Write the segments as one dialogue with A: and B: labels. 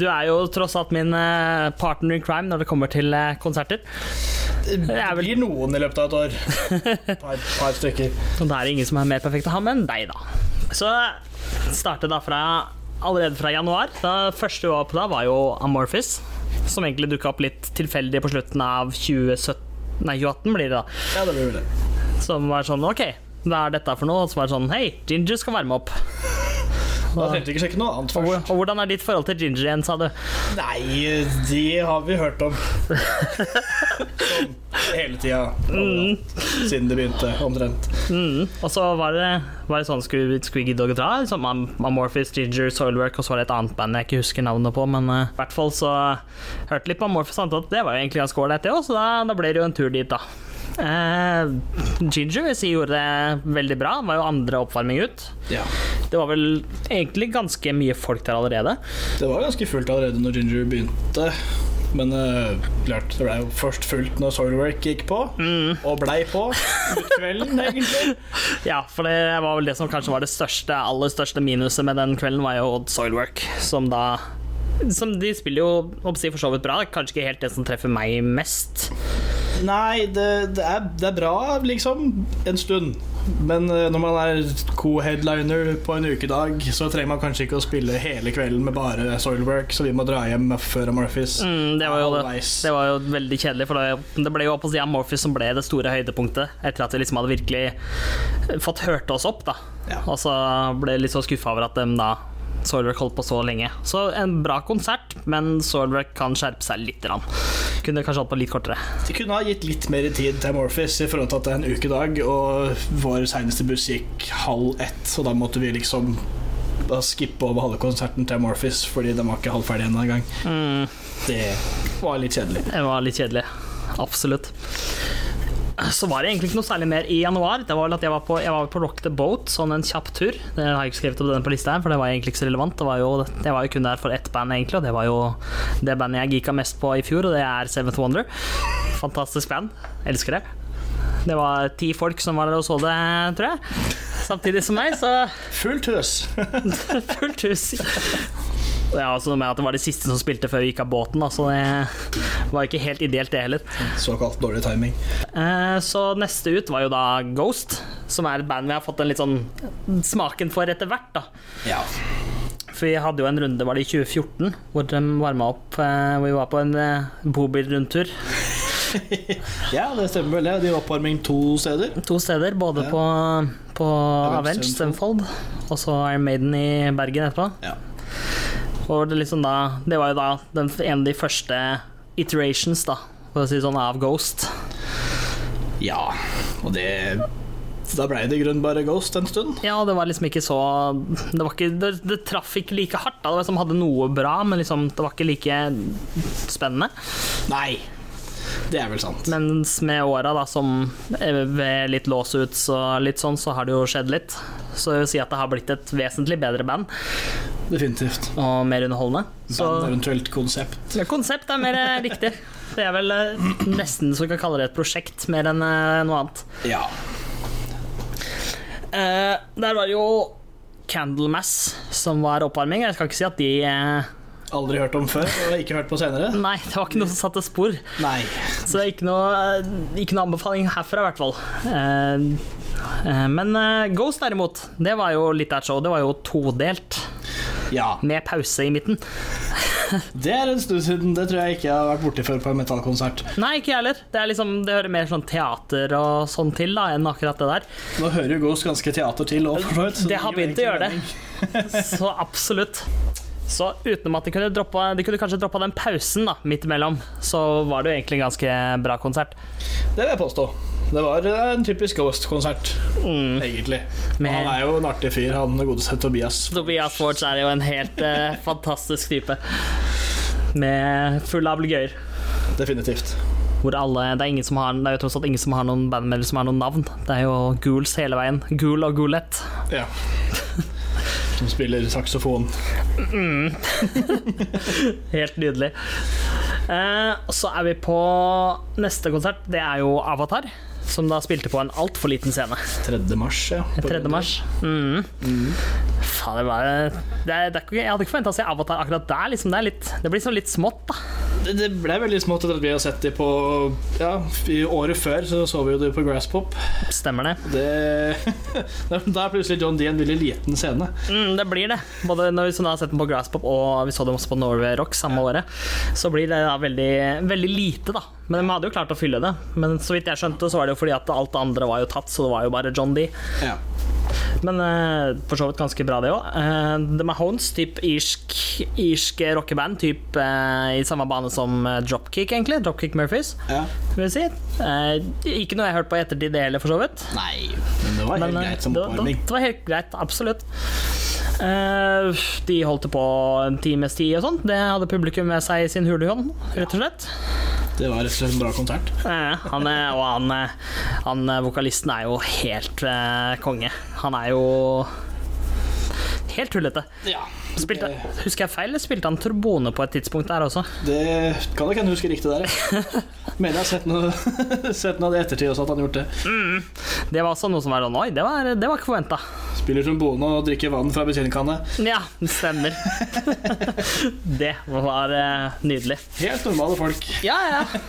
A: Du er jo tross alt min eh, partner in crime når det kommer til eh, konserter.
B: Det
A: er vel-
B: blir noen i løpet av et år. Et par, par stykker.
A: Og det er ingen som er mer perfekt å ha enn deg, da. Så startet da fra allerede fra januar. Da første vi var på da, var jo Amorphis, som egentlig dukka opp litt tilfeldig på slutten av 2017. Nei, 2018 blir det, da.
B: Ja, det blir vel det.
A: Som var sånn OK, hva er dette for noe? Og så var det sånn Hei, Ginger skal varme opp.
B: Da trengte vi ikke sjekke noe annet
A: Og,
B: først.
A: og hvordan er ditt forhold til Ginger igjen, sa du?
B: Nei, de har vi hørt om. Sånn hele tida. overalt. Siden det begynte, omtrent.
A: Mm. Og så var det, var det sånn skulle, skulle vi gidde å dra? Som Am Amorphis, Ginger, Soilwork, og så var det et annet band jeg ikke husker navnet på, men eh, i hvert fall så hørte litt på Amorphis og fant ut at det var jo egentlig ganske ålreit, det òg, så da, da ble det jo en tur dit, da. Eh, Ginger vil si gjorde det veldig bra, var jo andre oppvarming ut.
B: Ja.
A: Det var vel egentlig ganske mye folk der allerede.
B: Det var ganske fullt allerede når Ginger begynte. Men eh, klart, det ble jo først fullt når Soilwork gikk på,
A: Mm.
B: og blei på ut kvelden, egentlig.
A: Ja, for det var vel det som kanskje var det største, aller største minuset med den kvelden, var jo Odd Soilwork, som da som De spiller jo håper jeg, for så vidt bra, kanskje ikke helt det som treffer meg mest.
B: Nei, det, det, er, det er bra, liksom, en stund. Men eh, når man er co-headliner på en ukedag, så trenger man kanskje ikke å spille hele kvelden med bare Soilwork, så vi må dra hjem før Amorphis.
A: Mm, det, var jo, det,
B: Halvveis.
A: det var jo veldig kjedelig, for det, det ble jo på å si Amorphis som ble det store høydepunktet, etter at vi liksom hadde virkelig fått hørt oss opp, da.
B: Ja.
A: Og så ble jeg litt så skuffa over at dem da Soilwork holdt på så lenge. Så en bra konsert, men Soilwork kan skjerpe seg litt. Rann. Kunne kanskje holdt på litt kortere.
B: De kunne ha gitt litt mer tid til Amorphis i forhold til at det er en ukedag, og vår seneste buss gikk halv ett, så da måtte vi liksom da skippe over halve konserten til Amorphis, fordi den var ikke halvferdig ennå engang.
A: Mm.
B: Det var litt kjedelig.
A: Det var litt kjedelig. Absolutt. Så var det egentlig ikke noe særlig mer i januar. Det var vel at Jeg var på, jeg var på Rock the Boat, sånn en kjapp tur. Det har jeg ikke skrevet opp den på lista her, for det var egentlig ikke så relevant. Det var jo, jeg var jo kun der for ett band, egentlig, og det var jo det bandet jeg geeka mest på i fjor, og det er Seventh Wonder. Fantastisk band. Elsker det. Det var ti folk som var der og så det, tror jeg. Samtidig som meg, så
B: Fullt hus.
A: Fullt hus. Det er altså noe med at det var de siste som spilte før vi gikk av båten, da, så det var ikke helt ideelt, det heller.
B: Såkalt dårlig timing.
A: Eh, Så neste ut var jo da Ghost, som er et band vi har fått en litt sånn smaken for etter hvert. da
B: Ja.
A: For vi hadde jo en runde, var det i 2014, hvor de varma opp eh, Hvor vi var på en eh, bobil-rundtur
B: Ja, det stemmer vel. det. De var på oppvarming to steder.
A: to steder. Både
B: Ja.
A: på, på
B: Avenge
A: Avenge,
B: Stemfold.
A: Stemfold, og så Iron Maiden i Bergen etterpå.
B: Ja.
A: Og det, liksom da, det var jo da den, en av de første iterations, da, for å si det sånn, av Ghost.
B: ja. Og det Da blei det i grunnen bare Ghost en stund.
A: Ja, det var liksom ikke så Det, var ikke, det, det traff ikke like hardt. Da. Det var som hadde noe bra, men liksom, det var ikke like spennende.
B: Nei. Det er vel sant.
A: Mens med åra, da, som eh, ved litt låsuts og litt sånn, så har det jo skjedd litt. Så jeg vil si at det har blitt et vesentlig bedre band,
B: Definitivt.
A: og mer underholdende. Så
B: Band, eventuelt konsept.
A: ja, konsept er mer eh, riktig. Det er vel eh, nesten så vi kan kalle det et prosjekt, mer enn eh, noe annet.
B: Ja.
A: Eh, der var det jo Candlemass som var oppvarming. Jeg skal ikke si at de eh,
B: Aldri hørt om før, og ikke hørt på senere.
A: Nei, det var ikke noe som satte spor.
B: Nei.
A: Så det er ikke noe, eh, ikke noe anbefaling herfra, i hvert fall. Eh, eh, men eh, Ghost, derimot, det var jo litt av et show. Det var jo todelt,
B: Ja.
A: med pause i midten.
B: Det er en stund siden. Det tror jeg ikke jeg har vært borti før på en metallkonsert.
A: Nei, ikke jeg heller. Det, er liksom, det hører mer sånn teater og sånn til da, enn akkurat det der.
B: Nå hører jo Ghost ganske teater til òg, for så vidt. så
A: Det har
B: gir jo
A: begynt å
B: egentlig
A: gjøre Så absolutt. Så utenom at de kunne, droppa, de kunne kanskje droppa den pausen da, midt imellom, så var det jo egentlig en ganske bra konsert.
B: mening. Det vil jeg påstå. Det var eh, en typisk Ghost-konsert,
A: Mm.
B: egentlig.
A: Men-
B: Han er jo en artig fyr, han godeste Tobias.
A: Tobias Forge er jo en helt eh, fantastisk type. Med full av gøyer.
B: Definitivt.
A: Hvor alle, det, er ingen som har, det er jo tross alt ingen som har noen bandmedlemmer som har noen navn. Det er jo Gools hele veien. Gul og Gulett.
B: Ja. Som spiller saksofon.
A: Helt nydelig. Eh, og så er vi på neste konsert. Det er jo Avatar, som da spilte på en altfor liten scene.
B: 3. mars, ja.
A: 3. mars. Mm. Faen, det var det, er- det er, ikke- Jeg hadde ikke forventa å se Avatar akkurat der. Liksom. Det, er litt, det blir sånn litt smått, da.
B: Det, det ble veldig smått etter at vi har sett det på Ja, i året før så, så vi jo det på Grasspop.
A: Stemmer det.
B: Det Da er plutselig John D en veldig liten scene.
A: Mm, det blir det. Både når vi sånn har sett den på Grasspop og vi så dem også på Norway Rock samme året, så blir det da veldig, veldig lite, da. Men de hadde jo klart å fylle det. Men så vidt jeg skjønte, så var det jo fordi at alt det andre var jo tatt, så det var jo bare John D.
B: Ja.
A: Men eh, for så vidt ganske bra, det òg. Eh, The Mahones, typ irsk, irsk rockeband, typ eh, i samme bane som eh, Dropkick, egentlig. Dropkick Murphys,
B: ja.
A: vil jeg si. Eh, ikke noe jeg har hørt på i ettertid, det heller, for så vidt.
B: Nei, men det var helt
A: Men eh,
B: greit som
A: det, var-
B: oppvarming.
A: det var helt greit, absolutt. Eh, de holdt det på en times tid og sånn. Det hadde publikum med seg i sin hulehånd, rett og slett.
B: Det var rett og slett en bra konsert.
A: Eh, han er, og han, eh, han eh, vokalisten er jo helt eh, konge. Han er jo helt tullete.
B: Ja.
A: Spilte, husker jeg feil, eller spilte han trombone på et tidspunkt der også?
B: Det kan nok hende jeg husker riktig der, jeg. Mener jeg har sett noe, sett noe av det i ettertid også, at han har gjort det.
A: Det var også noe som var sånn Oi, det var, det var ikke forventa.
B: Spiller trombone og drikker vann fra betjeningskanne.
A: Ja, det stemmer. det var eh, nydelig.
B: Helt normale folk.
A: Ja, ja.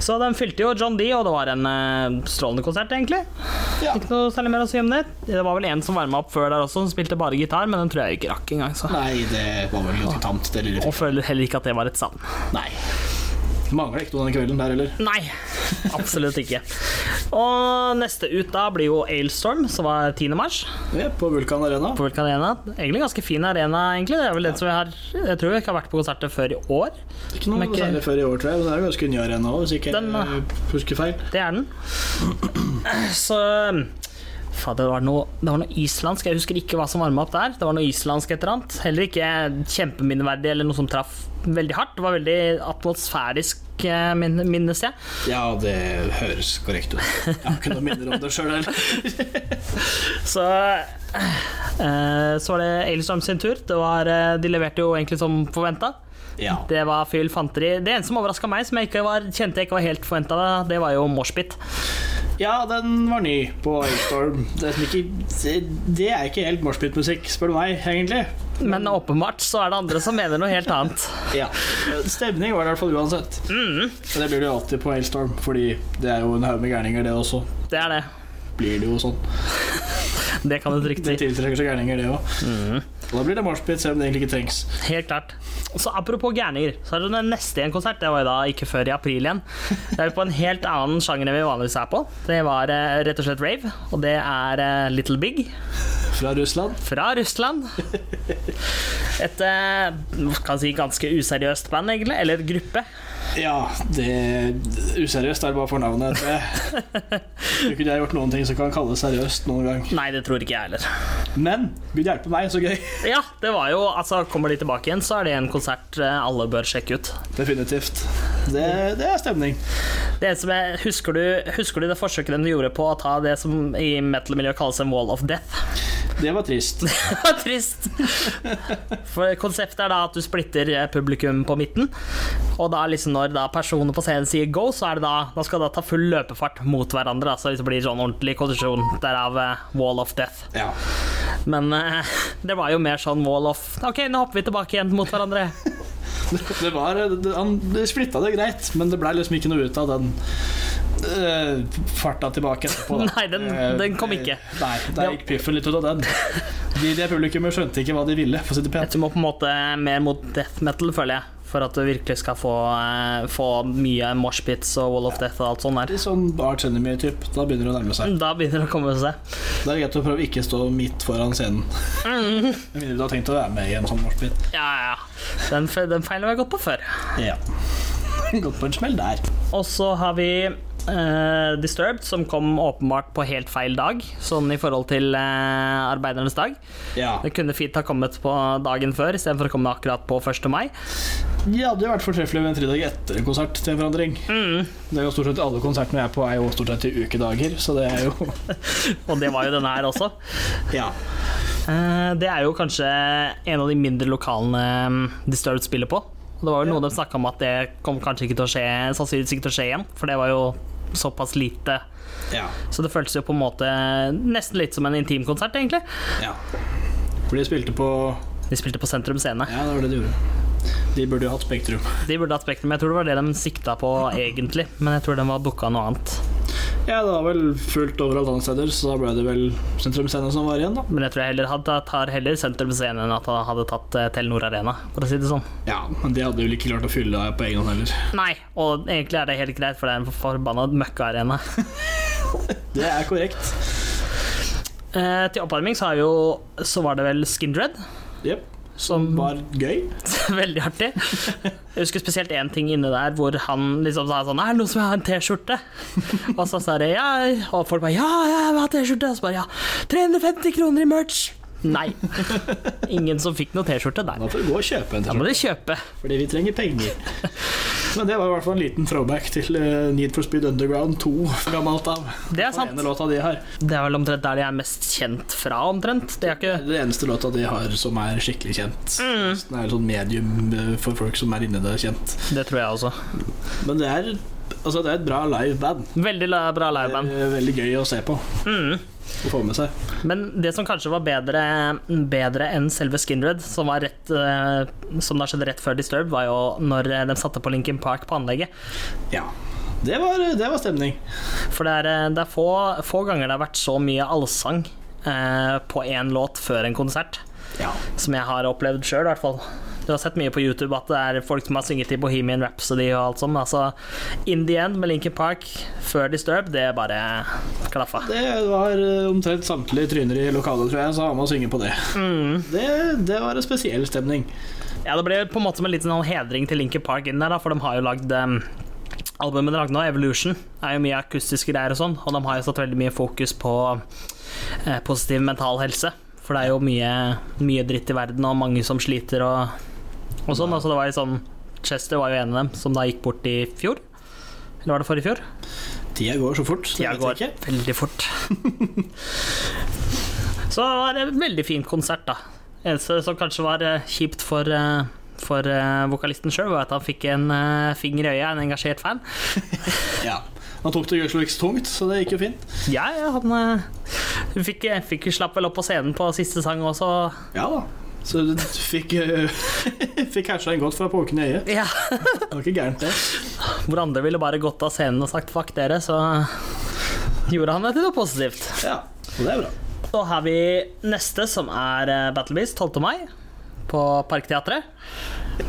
A: Så den fylte jo John D, og det var en eh, strålende konsert, egentlig.
B: Ja.
A: Ikke noe særlig mer å si om det. Det var vel en som varma opp før der også, som spilte bare gitar, men den tror jeg ikke rakk engang. Så.
B: Nei, det var vel ganske tamt, det lille
A: Og føler heller ikke at det var et savn.
B: Nei. Mangler ikke noe denne kvelden der heller.
A: Nei, absolutt ikke. Og neste ut da blir jo Ailstorm, som var 10. mars.
B: Ja, på Vulkan Arena.
A: på Vulkan Arena. Egentlig ganske fin arena, egentlig. Det er vel den som vi har Jeg tror vi ikke har vært på konserter før i år.
B: Ikke noe
A: Men ikke-
B: særlig før i år, tror jeg. men Det er jo ganske ny arena òg, hvis ikke
A: Den,
B: jeg husker feil.
A: Det er den. Så Fader, det var, noe, det var noe islandsk. Jeg husker ikke hva som varma opp der. Det var noe islandsk et eller annet. Heller ikke kjempeminneverdig eller noe som traff veldig hardt. Det var veldig atmosfærisk, eh, min- minnes jeg.
B: Ja, det høres korrekt ut. Jeg har ikke noe minner om det sjøl heller.
A: Så eh, Så var det Ailstorm sin tur. Det var, eh, de leverte jo egentlig som forventa.
B: Ja.
A: Det var fyll fanteri. Det eneste som overraska meg, som jeg ikke var, kjente jeg ikke var helt forventa, det var jo moshpit.
B: Ja, den var ny på Airstorm. Det er, som ikke, det- det er ikke helt moshpit-musikk, spør du meg, egentlig.
A: Men åpenbart så er det andre som mener noe helt annet.
B: Ja. Stemning var det i hvert fall uansett.
A: Mm.
B: Og det blir det jo alltid på Airstorm, fordi det er jo en haug med gærninger, det også.
A: Det er det.
B: Blir det jo sånn.
A: Det kan du trygt
B: Det
A: si.
B: tiltrekker seg gærninger, det òg.
A: Mhm.
B: Og da blir det moshpit, selv om det egentlig ikke trengs.
A: Helt klart. Så apropos gærninger, så er det den neste i en konsert. Det var jo da ikke før i april igjen. Det er jo på en helt annen sjanger enn vi vanligvis er på. Det var eh, rett og slett rave, og det er eh, Little Big.
B: Fra Russland.
A: fra Russland. Et eh, kan si ganske useriøst band, egentlig. Eller gruppe.
B: Ja, det Useriøst er det bare for navnet, tror jeg. Tror ikke de har gjort noen ting som kan kalles seriøst noen gang.
A: Nei, det tror ikke jeg heller.
B: Men gud hjelpe meg, så gøy.
A: Ja, det var jo Altså, kommer de tilbake igjen, så er det en konsert eh, alle bør sjekke ut.
B: Definitivt. Det, det er stemning.
A: Det eneste som jeg, husker, du, husker du det forsøket de gjorde på å ta det som i metal-miljøet kalles en wall of death?
B: Det var trist.
A: Det var Trist. For konseptet er da at du splitter eh, publikum på midten. Og da liksom når da personer på scenen sier go, så er det da Da skal da ta full løpefart mot hverandre. da, Så det blir sånn ordentlig kondisjon. Derav eh, wall of death.
B: Ja.
A: Men eh, det var jo mer sånn wall of OK, nå hopper vi tilbake igjen mot hverandre.
B: Det var det, Han det splitta det greit, men det ble liksom ikke noe ut av den eh, farta tilbake etterpå. da.
A: Nei, den-
B: Eh,
A: den kom ikke.
B: eh, Nei, der
A: Det-
B: gikk piffen litt ut av den. De der publikummet skjønte ikke hva de ville, for å si det pent.
A: Du må på en måte mer mot death metal, føler jeg. For at du virkelig skal få, eh, få mye moshpits og wall of death og alt sånt der.
B: Litt Sånn Arch Enemy-typ. Da begynner det å nærme seg.
A: Da begynner det å komme seg.
B: Da er det greit å prøve å ikke stå midt foran scenen. Med mindre du har tenkt å være med i en sånn moshpit.
A: Ja, ja. ja. Den, fe- den feilen har jeg gått på før.
B: Ja. Gått på en smell der.
A: Og så har vi eh, Disturbed, som kom åpenbart på helt feil dag, sånn i forhold til eh, arbeidernes dag.
B: Ja.
A: Det kunne fint ha kommet på dagen før istedenfor å komme akkurat på 1. mai.
B: De hadde jo vært fortreffelige ved en fridag etter en konsert til en forandring. Det er jo stort sett alle konsertene jeg er på, er jo stort sett i ukedager, så det er jo
A: Og det var jo denne her også.
B: Ja.
A: Eh, Det er jo kanskje en av de mindre lokalene mm, Disturbed spiller på. Og det var jo noe de snakka om at det kom kanskje ikke til å skje sannsynligvis ikke til å skje igjen, for det var jo såpass lite.
B: ja.
A: Så det føltes jo på en måte nesten litt som en intimkonsert, egentlig.
B: ja. For de spilte på
A: De spilte på Sentrum Scene.
B: Ja, det var det de gjorde. De burde jo hatt Spektrum.
A: De burde hatt Spektrum. Jeg tror det var det de sikta på egentlig, men jeg tror de var booka noe annet.
B: Ja, det var vel fullt overalt andre steder, så da ble det vel Sentrum Scene som var igjen, da.
A: Men jeg tror jeg heller hadde, tar heller Sentrum Scene enn at han hadde tatt eh, Telenor Arena, for å si det sånn.
B: Ja, men de hadde vel ikke klart å fylle det på egen hånd heller.
A: Nei, og egentlig er det helt greit, for det er en forbanna møkkaarena.
B: Det er korrekt.
A: Eh, til oppvarming så, har jo, så var det vel Skindred,
B: Jepp.
A: som var
B: Var gøy.
A: veldig artig. Jeg husker spesielt én ting inne der hvor han liksom sa sånn 'Er det noen som vil ha en T-skjorte?' Og så sa det 'ja', og folk bare 'ja, jeg vil ha T-skjorte'. Og så bare 'ja, 350 kroner i merch'. Nei. Ingen som fikk noe T-skjorte der.
B: Da får du gå og kjøpe en,
A: Da må de kjøpe.
B: fordi vi trenger penger. Men det var i hvert fall en liten throwback til eh, Need for Speed Underground 2 fra gammelt av.
A: Det er sant.
B: Den ene låta de har.
A: Det er vel omtrent der de er mest kjent fra, omtrent. Det er ikke Mm.
B: Det eneste låta de har som er skikkelig kjent. Den er sånn medium eh, for folk som er inni det kjent.
A: Det tror jeg også.
B: Men det er, altså, det er et bra liveband.
A: Veldig la- bra
B: Det
A: liveband.
B: er veldig gøy å se på
A: Mm.
B: og få med seg.
A: Men det som kanskje var bedre, bedre enn selve Skinred, som, var rett, eh, som da skjedde rett før Disturbed, var jo når eh, de satte på Linkin Park på anlegget.
B: Ja. Det var, eh, det var stemning.
A: For det er, eh, det er få, få ganger det har vært så mye allsang eh, på én låt før en konsert,
B: Ja.
A: som jeg har opplevd sjøl, i hvert fall. Du har sett mye på YouTube at det er folk som har sunget i Bohemian Rhapsody og alt sånt. men Altså, In the End med Linkin Park før Disturbed, det bare klaffa.
B: Det var eh, omtrent samtlige tryner i lokalet, tror jeg, så var med å synge på det.
A: Mm.
B: det. Det var en spesiell stemning.
A: Ja, det ble på en måte som en liten sånn hedring til Linkin Park inn der, da, for de har jo lagd um, albumet de lagde nå, Evolution, er jo mye akustiske greier og sånn, og de har jo satt veldig mye fokus på eh, positiv mental helse, for det er jo mye, mye dritt i verden, og mange som sliter og, og sånn, altså det var jo sånn, Chester var jo en av dem, som da gikk bort i fjor, eller var det forrige fjor?
B: Tida går så fort.
A: Tida går veldig fort. så det var en veldig fin konsert, da. Eneste som kanskje var eh, kjipt for eh, for eh, vokalisten sjøl var at han fikk en eh, finger i øyet, en engasjert fan.
B: Ja. Han tok det gudskjelov ikke så tungt, så det gikk jo fint.
A: Ja, ja, han eh, fikk, eh, fikk slapp vel opp på scenen på siste sang også.
B: Ja da. Så du fikk, eh, fikk casha inn godt fra poken i øyet.
A: Ja.
B: Det var ikke gærent, det.
A: Hvor andre ville bare gått av scenen og sagt 'fuck dere', så eh, gjorde han det til noe positivt.
B: Ja, Og det er bra.
A: Så har vi neste, som er eh, Battle Beast, 12. mai, på Parkteatret.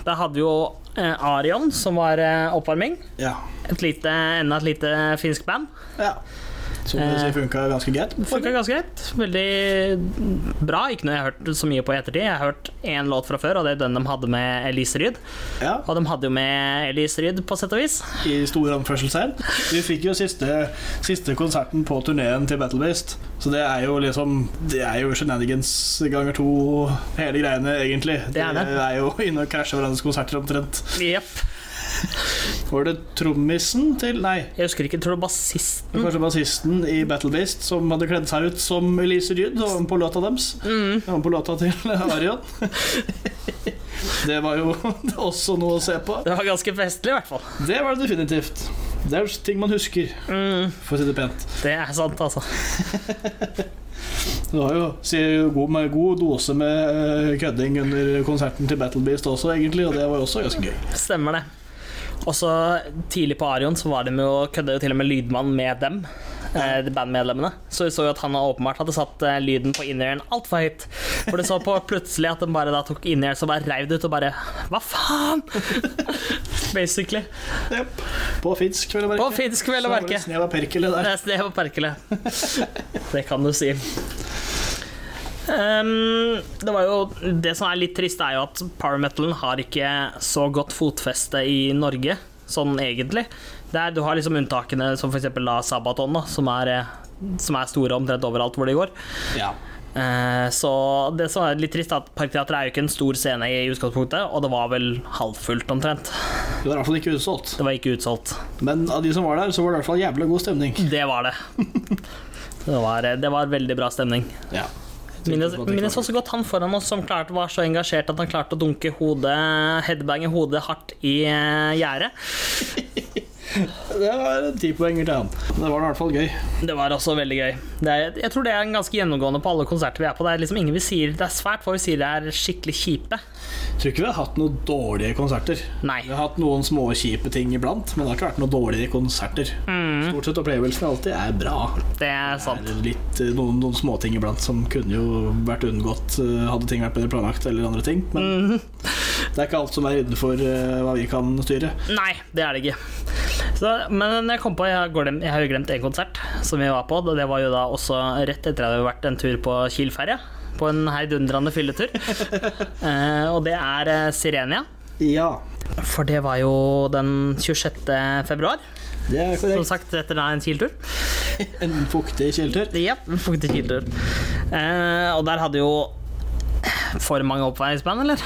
A: Der hadde vi jo eh, Arion, som var eh, oppvarming.
B: Ja.
A: Et lite, enda et lite finsk band.
B: ja. Så det
A: Eh.
B: funka ganske greit.
A: Funka ganske greit. Veldig bra. Ikke noe jeg har hørt så mye på i ettertid. Jeg har hørt én låt fra før, og det er den de hadde med Elise Ryd.
B: Ja,
A: Og de hadde jo med Elise Ryd, på sett og vis.
B: I stor anførselstegn. Vi fikk jo siste, siste konserten på turneen til Battle Beast, så det er jo liksom Det er jo shenanigans ganger to, hele greiene, egentlig.
A: Det er det.
B: De er jo inne og krasjer hverandres konserter omtrent.
A: Jepp.
B: Var det trommisen til Nei.
A: Jeg husker ikke, tror du bassisten
B: Det var Kanskje bassisten i Battle Beast som hadde kledd seg ut som Elise Ryd og var med på låta deres. Han var med på låta til Arian. Det var jo også noe å se på.
A: Det var ganske festlig, i hvert fall.
B: Det var det definitivt. Det er ting man husker,
A: Mm,
B: for å si det pent.
A: det er sant, altså.
B: Det var jo sier jo, god, med god dose med eh, kødding under konserten til Battle Beast også, egentlig, og det var også ganske gøy.
A: Stemmer det. Og så tidlig på Arion så var de jo, kødde jo til og med lydmann med dem. eh, de Bandmedlemmene. Så vi så jo at han åpenbart hadde satt eh, lyden på in-earen altfor høyt. For du så på plutselig at de bare da tok in-ears og bare reiv det ut og bare Hva faen?! Basically.
B: Jep. På finsk, vel å merke.
A: På finsk, vel å
B: Så var det
A: merke.
B: et Snev av perkele
A: Det
B: der.
A: er snev og perkele. Det kan du si. Ehm, det, var jo, det som er litt trist, er jo at powermetalen har ikke så godt fotfeste i Norge, sånn egentlig. Der du har liksom unntakene som f.eks. Sabaton, da, som er, eh, som er store omtrent overalt hvor de går.
B: Ja.
A: Eh, Så det som er litt trist, er at Parkteatret er jo ikke en stor scene i utgangspunktet, og det var vel halvfullt omtrent.
B: Det var i hvert fall ikke utsolgt.
A: Det var ikke utsolgt.
B: Men av de som var der, så var det i hvert fall jævla god stemning.
A: Det var det. Det var, det var veldig bra stemning.
B: Ja.
A: Minnes, minnes også godt han foran oss som klarte, var så engasjert at han klarte å dunke hodet, headbange hodet hardt i eh, gjerdet.
B: Det var ti poenger til han. Men det var i hvert fall gøy.
A: Det var også veldig gøy. Det er, jeg tror det er ganske gjennomgående på alle konserter vi er på. Det er liksom ingen vi sier Det er svært få vi sier det er skikkelig kjipe.
B: Tror ikke vi har hatt noen dårlige konserter.
A: Nei.
B: Vi har hatt noen små kjipe ting iblant, men det har ikke vært noen dårlige konserter.
A: Mm.
B: Stort sett opplevelsene alltid er bra.
A: Det er sant.
B: Det er litt, eh, noen, noen småting iblant som kunne jo vært unngått eh, hadde ting vært bedre planlagt eller andre ting. Men det er ikke alt som er innenfor eh, hva vi kan styre.
A: Nei, det er det ikke. Så, men jeg kom på, jeg, går glem, jeg har jo glemt en konsert som vi var på. og Det var jo da også rett etter at jeg hadde vært en tur på Kiel ferje. På en heidundrende fylletur. eh, og det er eh, Sirenia.
B: Ja,
A: For det var jo den 26. februar.
B: det er
A: Som
B: korrekt.
A: sagt, etter da en Kiel-tur.
B: En fuktig kjeltur.
A: Ja, faktisk Kiel-tur. Eh, og der hadde jo for mange oppveiingsband, eller?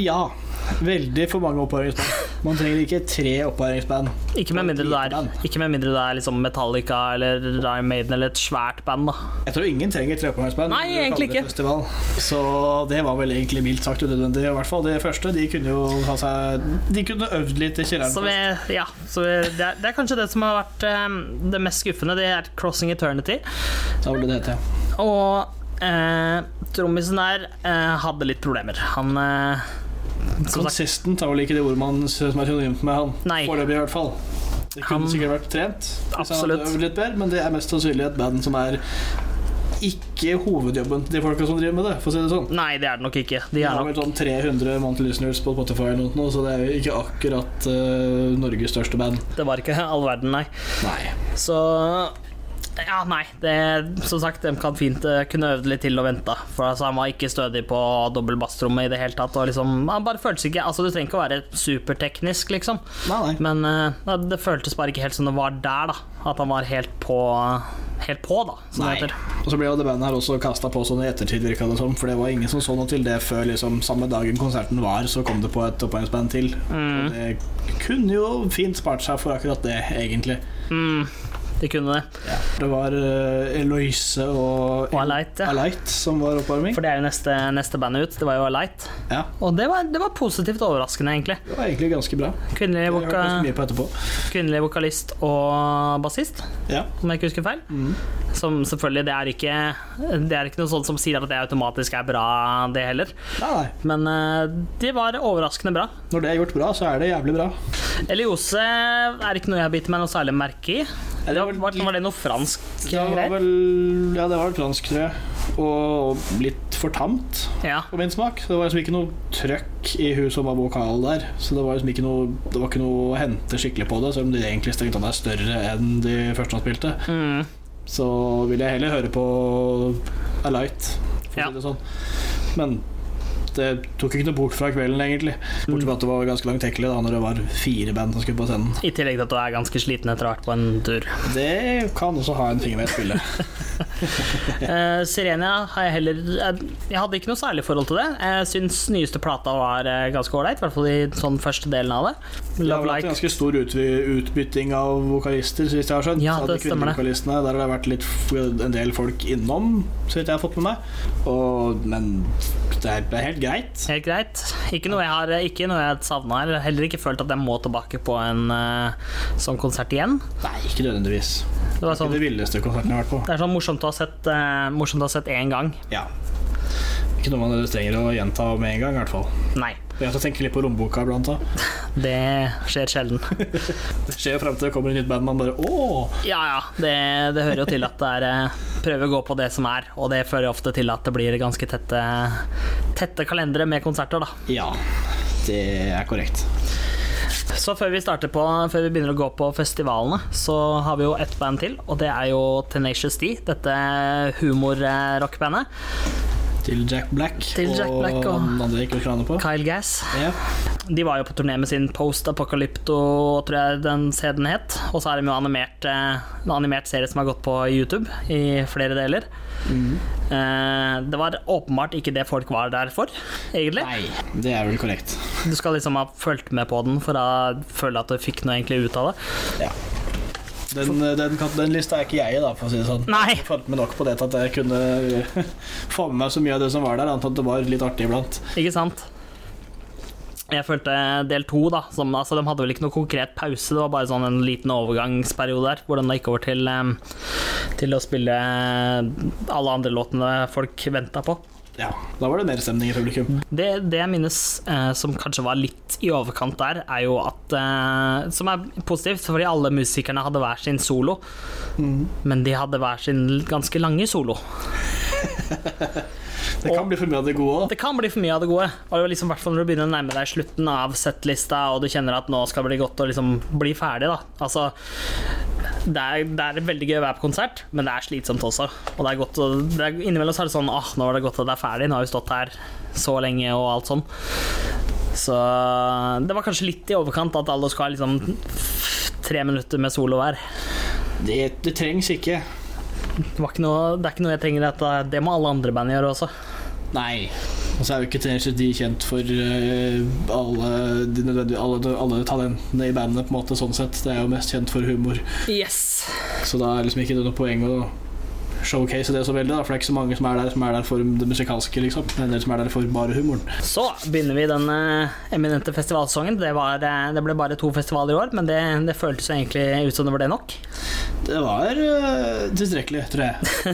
B: Ja. Veldig for mange oppvarmingsband. Man trenger ikke tre oppvarmingsband.
A: Ikke med mindre det er, ikke med mindre det er liksom Metallica eller Iron Maiden eller et svært band, da.
B: Jeg tror ingen trenger tre oppvarmingsband.
A: Nei,
B: under
A: egentlig
B: Kalvøy
A: ikke.
B: Festival. Så det var vel egentlig mildt sagt unødvendig. I hvert fall det første. De kunne jo ha seg De kunne øvd litt i kjelleren.
A: Så vi, ja, så vi, det, er, det er kanskje det som har vært eh, det mest skuffende. Det er 'Crossing Eternity'.
B: Da ville det hete
A: Og eh, trommisen der eh, hadde litt problemer. Han eh, som sagt,
B: Consistent er vel ikke det ordet man synes som er synonymt med han.
A: Nei.
B: Foreløpig, i hvert fall. Det kunne
A: Han-
B: sikkert vært trent, hvis han hadde
A: Absolutt.
B: øvd litt bedre, men det er mest sannsynlig et band som er ikke hovedjobben til de folka som driver med det, for å si det sånn.
A: Nei, det er det nok ikke. De
B: Det
A: er
B: er vel
A: nok
B: sånn 300 monthly listeners på Spotify, eller noe, så det er jo ikke akkurat eh, Norges største band.
A: Det var ikke all verden, nei.
B: Nei.
A: Så ja, nei. Det, som sagt, de kan fint eh, kunne øvd litt til og venta. For altså, han var ikke stødig på dobbel basstrommet i det hele tatt. Og liksom, han bare føltes ikke Altså, du trenger ikke å være superteknisk, liksom.
B: Nei, nei.
A: Men eh, nei, det føltes bare ikke helt som det var der, da. At han var helt på, helt på da, som det heter.
B: Og så ble jo det bandet her også kasta på sånn i ettertid, virka det som, for det var ingen som så noe til det før liksom samme dagen konserten var, så kom det på et oppvarmingsband til.
A: Mm,
B: Og det kunne jo fint spart seg for akkurat det, egentlig.
A: mm. De kunne det.
B: Det var eh, Eloise og,
A: Og Alight, ja.
B: Alight som var oppvarming.
A: For det er jo neste, neste band ut. Det var jo Alight.
B: Ja,
A: Og det var, det var positivt overraskende, egentlig.
B: det var egentlig ganske bra.
A: Kvinnelig,
B: Jeg har hørt
A: voka,
B: ganske mye på etterpå.
A: kvinnelig vokalist og bassist,
B: Ja. Mm.
A: om jeg ikke husker feil. Som selvfølgelig, det er ikke Det er ikke noe sånt som sier at det automatisk er bra, det heller.
B: Nei, nei.
A: Men eh, de var overraskende bra.
B: Når det er gjort bra, så er det jævlig bra.
A: Eliose er ikke noe jeg biter meg noe særlig merke i.
B: Ja,
A: Det
B: det var
A: var, var, det noe fransk
B: Det var
A: greier?
B: vel Ja, det var fransk, tror jeg. Og litt for tamt.
A: Ja.
B: på min smak. Det var liksom ikke noe trøkk i hun som var vokal der. Så det var liksom ikke noe, det var ikke noe å hente skikkelig på det, selv om de egentlig strengt tatt er større enn de første han spilte.
A: Mm.
B: Så vil jeg heller høre på Alight, for å
A: Ja.
B: si det sånn. Men det tok ikke noe bort fra kvelden, egentlig. Bortsett fra at det var ganske langtekkelig da, når det var fire band som skulle på scenen.
A: I tillegg til at du er ganske sliten etter å ha vært på en tur.
B: Det kan også ha en finger med i spillet.
A: Eh, Sirenia har jeg heller eh, Jeg hadde ikke noe særlig forhold til det. Jeg syns nyeste plata var eh, ganske ålreit, i hvert fall i sånn første delen av det.
B: Det har
A: Love
B: vært en
A: Like
B: ganske stor utvi- utbytting av vokalister, så vidt jeg har skjønt.
A: Ja,
B: av
A: det
B: de
A: stemmer det.
B: kvinnevokalistene. Der har det vært litt, f- en del folk innom, så vidt jeg har fått med meg. Og, men det er, det er helt greit.
A: Helt greit. Ikke noe jeg har Ikke noe jeg savna her. Heller ikke følt at jeg må tilbake på en eh, sånn konsert igjen.
B: Nei, ikke nødvendigvis.
A: Det var
B: Ikke
A: sånn
B: det villeste konserten jeg har vært på.
A: det er sånn morsomt å ha sett eh, Morsomt å ha sett én gang.
B: Ja. Ikke noe man nødvendigvis trenger å gjenta med en gang, i hvert fall.
A: Nei.
B: Jeg skal tenke litt på romboka iblant. da.
A: Det skjer sjelden.
B: Det skjer jo frem til det kommer et nytt band, man bare åh!
A: Ja ja, det, det hører jo til at det er eh, Prøve å gå på det som er, og det fører ofte til at det blir ganske tette, tette kalendere med konserter, da.
B: Ja, det er korrekt.
A: Så før vi starter på Før vi begynner å gå på festivalene, så har vi jo ett band til, og det er jo Tenacious D, dette humorrockbandet.
B: Til Jack Black
A: Til Jack
B: og
A: Black og-
B: den andre jeg ikke husker navnet på.
A: Kyle Gass.
B: Ja.
A: De var jo på turné med sin Post Apocalypto, tror jeg den CD-en het. Og så er de jo animert, eh, en animert serie som har gått på YouTube i flere deler. Eh, Det var åpenbart ikke det folk var der for, egentlig.
B: Nei, det er vel korrekt.
A: Du skal liksom ha fulgt med på den for å føle at du fikk noe egentlig ut av det.
B: Ja. Den, den, kan- den lista er ikke jeg i, da, for å si det sånn.
A: Nei!
B: Jeg fant meg nok på det til at jeg kunne få med meg så mye av det som var der, annet enn at det var litt artig iblant.
A: Ikke sant? Jeg følte del to, da. Som, altså, de hadde vel ikke noe konkret pause. Det var bare sånn en liten overgangsperiode der, hvor den gikk over til, em, til å spille eh, alle andre låtene folk venta på.
B: Ja, Da var det mer stemning i publikum.
A: Det, det jeg minnes eh, som kanskje var litt i overkant der, er jo at eh, Som er positivt, fordi alle musikerne hadde hver sin solo, men de hadde hver sin ganske lange solo.
B: Det kan bli for mye av det gode òg.
A: Det kan bli for mye av det gode. Og det var liksom, hvertfall når du begynner å nærme deg slutten av settlista, og du kjenner at nå skal det bli godt å liksom bli ferdig, da. Altså, det er, det er veldig gøy å være på konsert, men det er slitsomt også. Og det er godt å, det er, innimellom så er det sånn Åh, nå er det godt at det er ferdig. Nå har vi stått her så lenge, og alt sånn. Så det var kanskje litt i overkant at alle skal ha liksom tre minutter med solo hver.
B: Det, det trengs ikke.
A: Det, var ikke noe, det er ikke noe jeg trenger at Det må alle andre band gjøre også.
B: Nei. Og så er jo ikke Tenacious D kjent for eh, alle, de nødvendige, alle, de- alle talentene i bandet, på en måte, sånn sett. Det er jo mest kjent for humor.
A: Yes.
B: Så da er liksom ikke det noe poeng å showcase det så veldig, da, for det er ikke så mange som er der som er der for det musikalske, liksom. Det er en del som er der for bare humoren.
A: Så begynner vi den eh, eminente festivalsesongen. Det, var, eh, det ble bare to festivaler i år, men det, det føltes jo egentlig ut som det var det nok.
B: Det var eh, tilstrekkelig, tror jeg.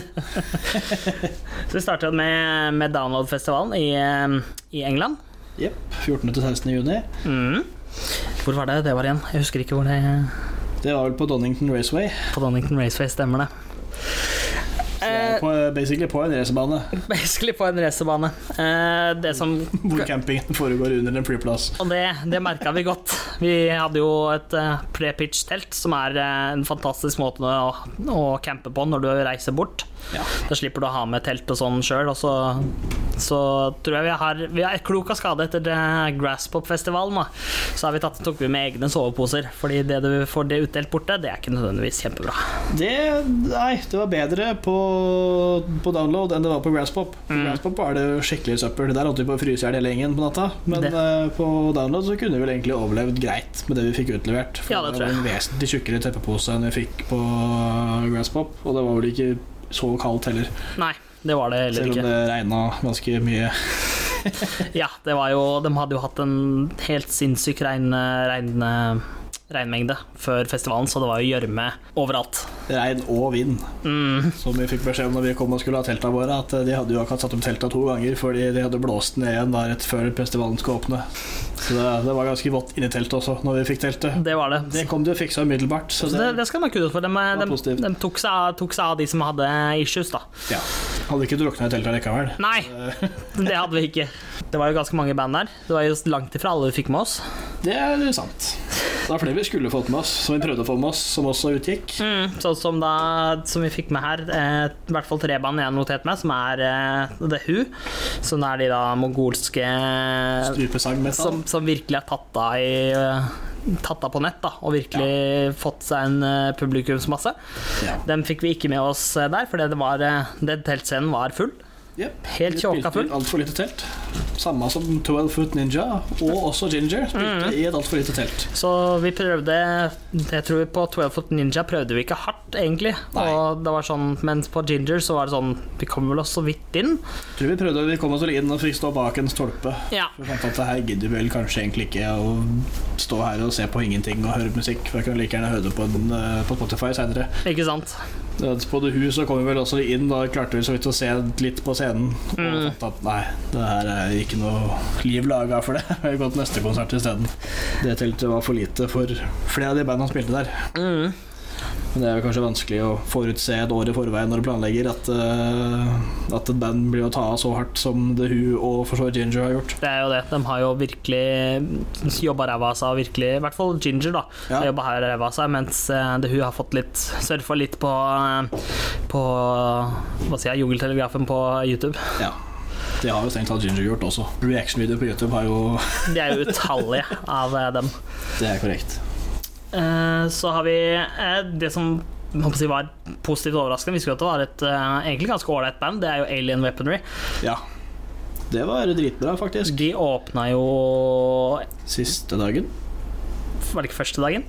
A: Så vi startet med, med Download-festivalen i, eh, i England.
B: Jepp. 14. til 16. juni.
A: Mm. Hvor var det det var igjen? Jeg husker ikke hvor det
B: Det var vel på Donington Raceway.
A: På Donington Raceway, stemmer det.
B: Så det var
A: Eh,
B: på, basically på en racerbane
A: basically på en racerbane. Eh, det som
B: hvor campingen foregår under en flyplass.
A: Og det, det merka vi godt. Vi hadde jo et eh, pre-pitch-telt, som er eh, en fantastisk måte å, å campe på når du reiser bort.
B: Ja.
A: Da slipper du å ha med telt og sånn sjøl. Og så, så tror jeg vi har Vi er klok av skade etter det Grasspop-festivalen, da. Så har vi tatt, tok vi med egne soveposer, fordi det du får det utdelt borte, det er ikke nødvendigvis kjempebra.
B: Det Nei, det var bedre på, på download enn det var på Grasspop. På
A: Mm.
B: Grasspop var det jo skikkelig søppel. Der holdt vi på å fryse i hjel hele gjengen på natta. Men
A: Det.
B: eh, på download så kunne vi vel egentlig overlevd greit med det vi fikk utlevert. For
A: Ja, det tror
B: var en vesentlig tjukkere teppepose enn vi fikk på Grasspop. Og det var vel ikke så kaldt heller,
A: Nei, det var det heller
B: selv om
A: ikke.
B: det regna ganske mye.
A: Ja, det var jo De hadde jo hatt en helt sinnssyk regn, regn, regnmengde før festivalen, så det var jo gjørme overalt.
B: Regn og vind,
A: Mm.
B: som vi fikk beskjed om når vi kom og skulle ha telta våre. At eh, de hadde jo akkurat satt opp telta to ganger fordi de hadde blåst ned igjen da rett før festivalen skulle åpne. Så det, det var ganske vått inni teltet også når vi fikk teltet.
A: Det var det.
B: Det kom de og fiksa umiddelbart. Så
A: Så det, det skal man ha kudos for. De, de,
B: positivt.
A: de tok, seg av, tok seg av de som hadde issues, da.
B: ja. Hadde ikke drukna i teltet likevel. Eh,
A: Nei, det hadde vi ikke. Det var jo ganske mange band der. Det var jo langt ifra alle vi fikk med oss.
B: Det er sant. Det var flere vi skulle fått med oss, som vi prøvde å få med oss, som også utgikk.
A: Sånn som, da, som vi fikk med her, eh, i hvert fall tre band jeg har notert meg, som er eh, The Who, som er de da mongolske
B: Strupesang med
A: som, som virkelig har tatt av i eh, Tatt av på nett, da, og virkelig fått seg en eh, publikumsmasse.
B: Ja.
A: Dem fikk vi ikke med oss eh, der, for det var eh, den teltscenen var full.
B: Yep.
A: Helt tjåka full.
B: Altfor lite telt. Samme som 12 Foot Ninja, og også Ginger, spilte
A: Mm.
B: i et altfor lite telt.
A: Så vi prøvde Jeg tror på 12 Foot Ninja prøvde vi ikke hardt, egentlig.
B: Nei.
A: Og det var sånn, mens på Ginger så var det sånn Vi kommer vel oss så vidt inn.
B: Tror vi prøvde vi kom oss vel inn og fikk stå bak en stolpe.
A: Ja.
B: Vi fant at det her gidder vi vel kanskje egentlig ikke å stå her og se på ingenting og høre musikk. For jeg kan like gjerne høre det på, en, eh, på Spotify seinere.
A: Ikke sant?
B: På The Who så kom vi vel også inn, da klarte vi så vidt å se litt på scenen. Og fant at nei, det her er ikke noe liv laga for det. Vi har gått neste konsert isteden. Det teltet var for lite for flere av de bandene som spilte der.
A: Mm.
B: Men det er jo kanskje vanskelig å forutse et år i forveien når du planlegger at, eh, at et band blir å ta av så hardt som The Who og for så vidt Ginger har gjort.
A: Det er jo det. De har jo virkelig jobba ræva av seg, og virkelig I hvert fall Ginger, da.
B: Ja.
A: Har jobba ræva av seg, mens eh, det hun har fått litt surfa litt på eh, På Hva sier jeg, Jungeltelegrafen på YouTube.
B: Ja. Det har jo strengt tatt Ginger gjort også. Reaction-videoer på YouTube har jo
A: Det er jo utallige av eh, dem.
B: Det er korrekt.
A: Eh, Så har vi eh, det som jeg håper å si, var positivt overraskende. Vi skulle at det var et eh, egentlig ganske ålreit band. Det er jo Alien Weaponry.
B: Ja. Det var dritbra, faktisk.
A: De åpna jo
B: Siste dagen.
A: Var det ikke første dagen?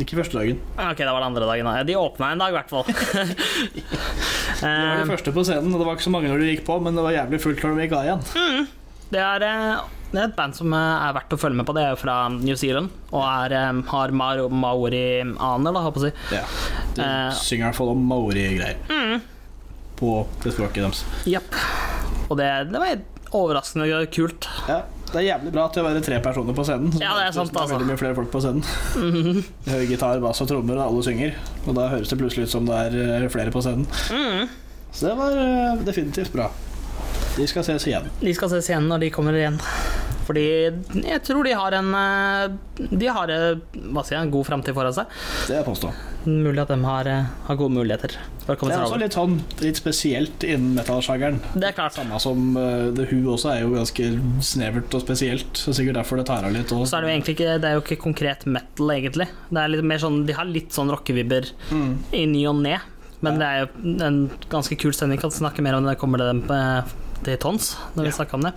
B: Ikke første dagen.
A: Ah, Ok, det var det andre dagen. da. Ja, de åpna en dag, i hvert fall.
B: Det var de
A: Eh,
B: første på scenen, og det var ikke så mange når de gikk på, men det var jævlig fullt når de gikk av igjen.
A: det, er, eh, det er et band som eh, er verdt å følge med på. Det er jo fra New Zealand og er, eh, har mar maori-aner, da, håper jeg å si.
B: Ja. De
A: Eh. Mm.
B: synger i hvert fall om maori-greier. På det språket deres.
A: Japp. Og det, det var overraskende kult.
B: Ja. Det er jævlig bra til å være tre personer på scenen.
A: Ja, det er sant,
B: det er
A: altså.
B: veldig
A: Mhm.
B: mye flere folk på scenen. Høy gitar, bass og trommer, og alle synger. Og da høres det plutselig ut som det er eh, flere på scenen.
A: Mhm.
B: Så det var eh, definitivt bra. De skal ses igjen.
A: De skal ses igjen når de kommer igjen. Fordi jeg tror de har en eh, De har eh, hva sier jeg, en god framtid foran seg.
B: Det vil jeg påstå.
A: Mulig at de har, eh, har gode muligheter. For å komme
B: Det
A: seg
B: er også
A: over.
B: litt sånn litt spesielt innen metal-sjangeren.
A: Det er klart.
B: Samme som eh, The Who også er jo ganske snevert og spesielt. Så sikkert derfor det tar av litt. Og,
A: Så er det jo egentlig ikke Det er jo ikke konkret metal, egentlig. Det er litt mer sånn De har litt sånn rockevibber
B: Mm.
A: i ny og ne. Men det er jo en ganske kul stemning. Kan snakke mer om det kommer det dem eh, til tons når vi
B: Ja.
A: snakker om det.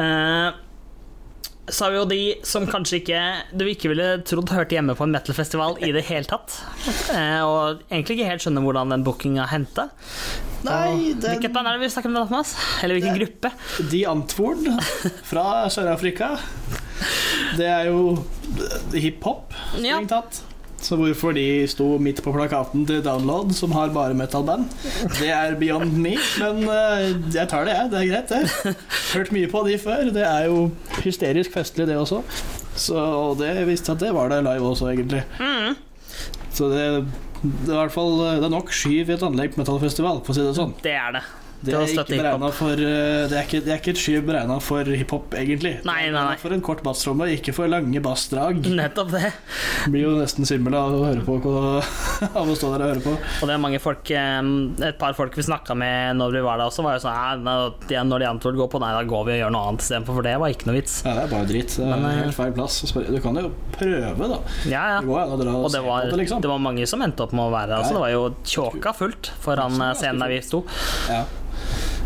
A: Eh, så har vi jo de som kanskje ikke du ikke ville trodd hørte hjemme på en metalfestival i det hele tatt. Eh, og egentlig ikke helt skjønner hvordan den bookinga hendte.
B: Nei,
A: Og
B: den-
A: Hvilket band er det vi snakker om da, Thomas? Eller hvilken gruppe?
B: De Antwoord fra Sør-Afrika. Det er jo hiphop,
A: Ja.
B: strengt tatt. Så hvorfor de sto midt på plakaten til Download, som har bare metal-band, det er beyond me. Men eh, jeg tar det, jeg. Det er greit, det. Hørt mye på de før. Det er jo hysterisk festlig, det også. Så og det visste at det var det live også, egentlig. Så det, det er i hvert fall eh, Det er nok skyv i et anlegg på metal-festival, for å si det sånn.
A: Det er det. Til
B: Det
A: å
B: er, ikke
A: støtte hiphop.
B: beregnet for, eh, det, er ikke, det er ikke et skyv beregna for hiphop, egentlig.
A: Nei, nei, nei.
B: Det er For en kort basstromme, ikke for lange bassdrag.
A: Nettopp det.
B: Det Blir jo nesten svimmel av å høre på hva- Av å stå der og høre på.
A: Og det er mange folk eh, Et par folk vi snakka med når vi var der også, var jo sånn "Nei, nei, de- Når de antok går på, nei, da går vi og gjør noe annet istedenfor, for det var ikke noe vits.
B: Ja, det er bare dritt. Det er
A: Men, eh,
B: helt feil plass. å spørre. Du kan jo prøve, da.
A: Ja, ja.
B: Det går an å dra og,
A: Og det
B: se
A: var,
B: på det, liksom.
A: det var mange som endte opp med å være der. Altså, det var jo tjåka fullt foran eh, scenen der vi sto.
B: Ja.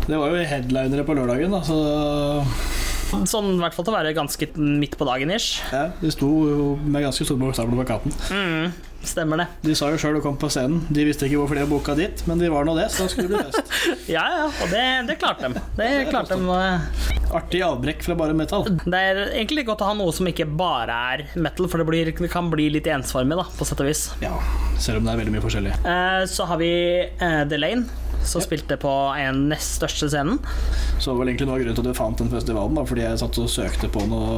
B: Det var jo headlinere på lørdagen, da, så
A: Sånn i hvert fall til å være ganske midt på dagen ish.
B: ja, De sto jo med ganske store bokstaver på plakaten.
A: Mm, stemmer det.
B: De sa jo sjøl å komme på scenen. De visste ikke hvorfor de boka dit, men de var nå det, så da skulle det bli fest.
A: Ja, ja. Og det, det klarte dem. Det klarte dem. eh.
B: Artig avbrekk fra bare metal.
A: Det er egentlig godt å ha noe som ikke bare er metal, for det, blir, det kan bli litt ensformig, da, på sett og vis.
B: Ja, selv om det er veldig mye forskjellig.
A: Eh, Så har vi eh, The Lane, som spilte på en nest største scenen.
B: Så det var egentlig noe av grunnen til at jeg fant den festivalen, da, fordi jeg satt og søkte på noe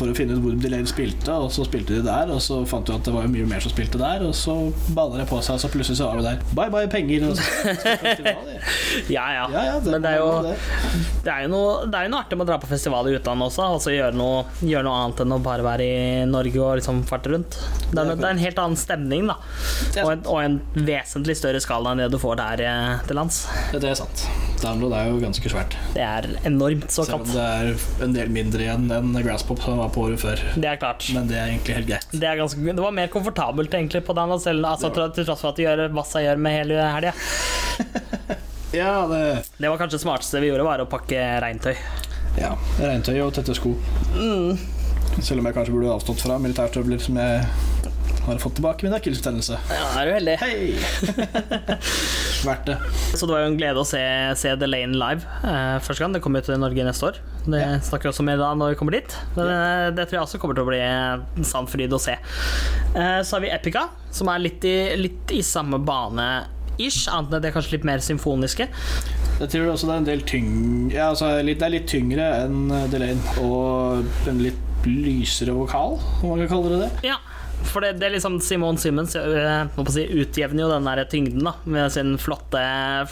B: for å finne ut hvor Delay spilte, og så spilte de der, og så fant du at det var jo mye mer som spilte der, og så baller det på seg, og så plutselig så var vi der. Bye bye, penger! Og så, skal festival, ja.
A: Ja, ja.
B: ja, ja, det,
A: Men det er jo-
B: var det.
A: Det er jo noe, det er jo noe artig med å dra på festival i utlandet også, og så gjøre noe, gjøre noe annet enn å bare være i Norge og liksom farte rundt. Det er,
B: Det er
A: det er en helt annen stemning, da.
B: Det er
A: Og en, og en vesentlig større skala enn det du får der eh, til lands.
B: Det, det er sant. Download er jo ganske svært.
A: Det er enormt
B: Selv om
A: såkalt.
B: det er en del mindre igjen enn Grasspop som var på året før.
A: Det er klart.
B: Men det er egentlig helt greit.
A: Det, er ganske, det var mer komfortabelt egentlig på den, selv, altså, til, til tross for at de gjør masse gjør med hele helga.
B: Ja, det
A: Det var kanskje det smarteste vi gjorde, var å pakke regntøy.
B: Ja. Mm. Regntøy og tette sko. Selv om jeg kanskje burde avstått fra militærstøvler som jeg har fått tilbake min akillesbetennelse.
A: Ja, er du heldig.
B: Hei! Verdt det.
A: Så det var jo en glede å se, se The Lane live eh, første gang. Det kommer jo til Norge neste år. Det
B: Ja.
A: snakker vi også om i dag når vi kommer dit. Men, eh, det tror jeg også kommer til å bli en sann fryd å se. Eh, så har vi Epica, som er litt i, litt i samme bane. Ish, annet enn at de er kanskje litt mer symfoniske.
B: Jeg tror også det er en del tyng... Ja, altså, litt, det er litt tyngre enn eh, Delane. Og en litt lysere vokal, om man kan kalle det det.
A: Ja, for det, det er liksom Simone Simmons eh, må på si, utjevner jo den der tyngden da med sin flotte,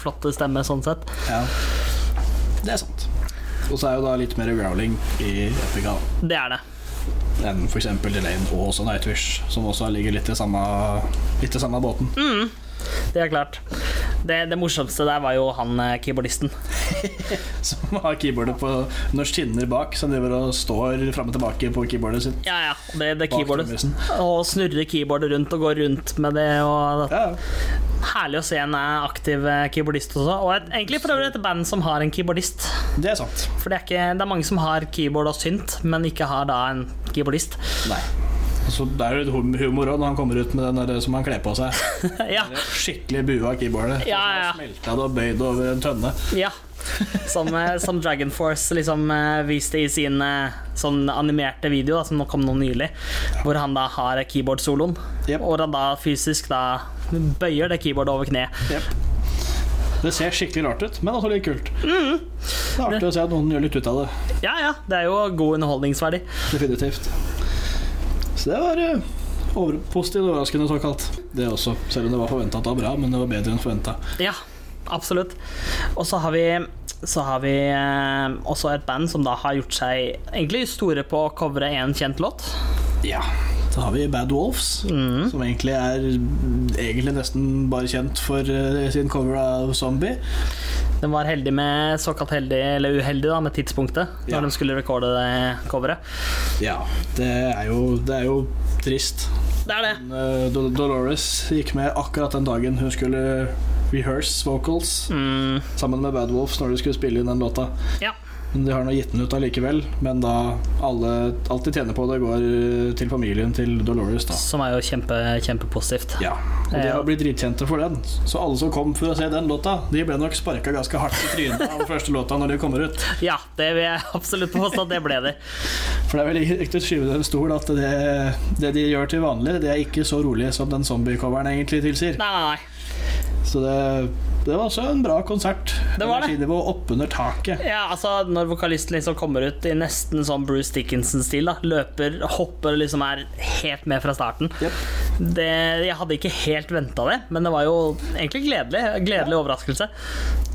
A: flotte stemme, sånn sett.
B: Ja. Det er sant. Og så er jo da litt mer growling i Epica
A: Det er det.
B: enn f.eks. Delane og også Nightwish, som også ligger litt i samme, litt i samme båten.
A: Det er klart. Det, det morsomste der var jo han eh, keyboardisten.
B: Som har keyboardet på norsk skinner bak, som driver og står fram og tilbake på keyboardet sitt.
A: Ja, ja. Det, det
B: Bak
A: keyboardet.
B: trommisen.
A: Og snurre keyboardet rundt og gå rundt med det. Og det.
B: Ja, ja.
A: Herlig å se en eh, aktiv eh, keyboardist også. Og et, egentlig for øvrig et band som har en keyboardist.
B: det er sant.
A: For det er, ikke, det er mange som har keyboard og synt, men ikke har da en keyboardist.
B: Nei. Så det er jo litt hum- humor òg når han kommer ut med den der som han kler på seg.
A: ja,
B: Det er Skikkelig bua av keyboardet.
A: Ja, ja.
B: Smelta det og bøyd over en tønne.
A: ja. Som, eh, som Dragon Force liksom eh, viste i sin eh, sånn animerte video, da, som nå kom nå nylig, hvor han da har keyboard-soloen.
B: Jep.
A: Hvor han da fysisk da bøyer det keyboardet over kneet.
B: Jep. Det ser skikkelig rart ut, men også litt kult. Mm. Det er artig å se at noen gjør litt ut av det.
A: Ja ja, det er jo god underholdningsverdi.
B: Definitivt. Så det var eh, over positivt overraskende, såkalt. Det også. Selv om det var forventa at det var bra, men det var bedre enn forventa.
A: Ja, absolutt. Og så har vi så har vi eh, også et band som da har gjort seg egentlig store på å covre en kjent låt.
B: Ja. Så har vi Bad Wolves, som egentlig er egentlig nesten bare kjent for eh, sin cover av Zombie.
A: Den var heldig med såkalt heldig, eller uheldig da, med tidspunktet,
B: Ja.
A: når de skulle rekorde det coveret.
B: Ja, det er jo, det er jo trist.
A: Det er det.
B: Men, eh, Dol- Dolores gikk med akkurat den dagen hun skulle rehearse vocals
A: Mm,
B: sammen med Bad Wolves når de skulle spille inn den låta.
A: ja.
B: Men De har nå gitt den ut allikevel, men da alle, alt de tjener på det, går eh, til familien til Dolores, da.
A: Som er jo kjempe, kjempepositivt.
B: Ja. Og de
A: Ja.
B: har blitt dritkjente for den, så alle som kom for å se den låta, de ble nok sparka ganske hardt i trynet av første låta når de kommer ut.
A: Ja, det vil jeg absolutt påstå at det ble det.
B: For det er vel riktig å skyve dem stol at det, det de gjør til vanlig, det er ikke så rolig som den zombie-coveren egentlig tilsier.
A: Nei, nei, nei.
B: Så det, det var også en bra konsert.
A: Det var det.
B: Energinivå oppunder taket.
A: Ja, altså, når vokalisten liksom kommer ut i nesten sånn Bruce Dickinson-stil, da, løper, hopper og liksom er helt med fra starten. Det, jeg hadde ikke helt venta det, men det var jo egentlig gledelig. Gledelig overraskelse.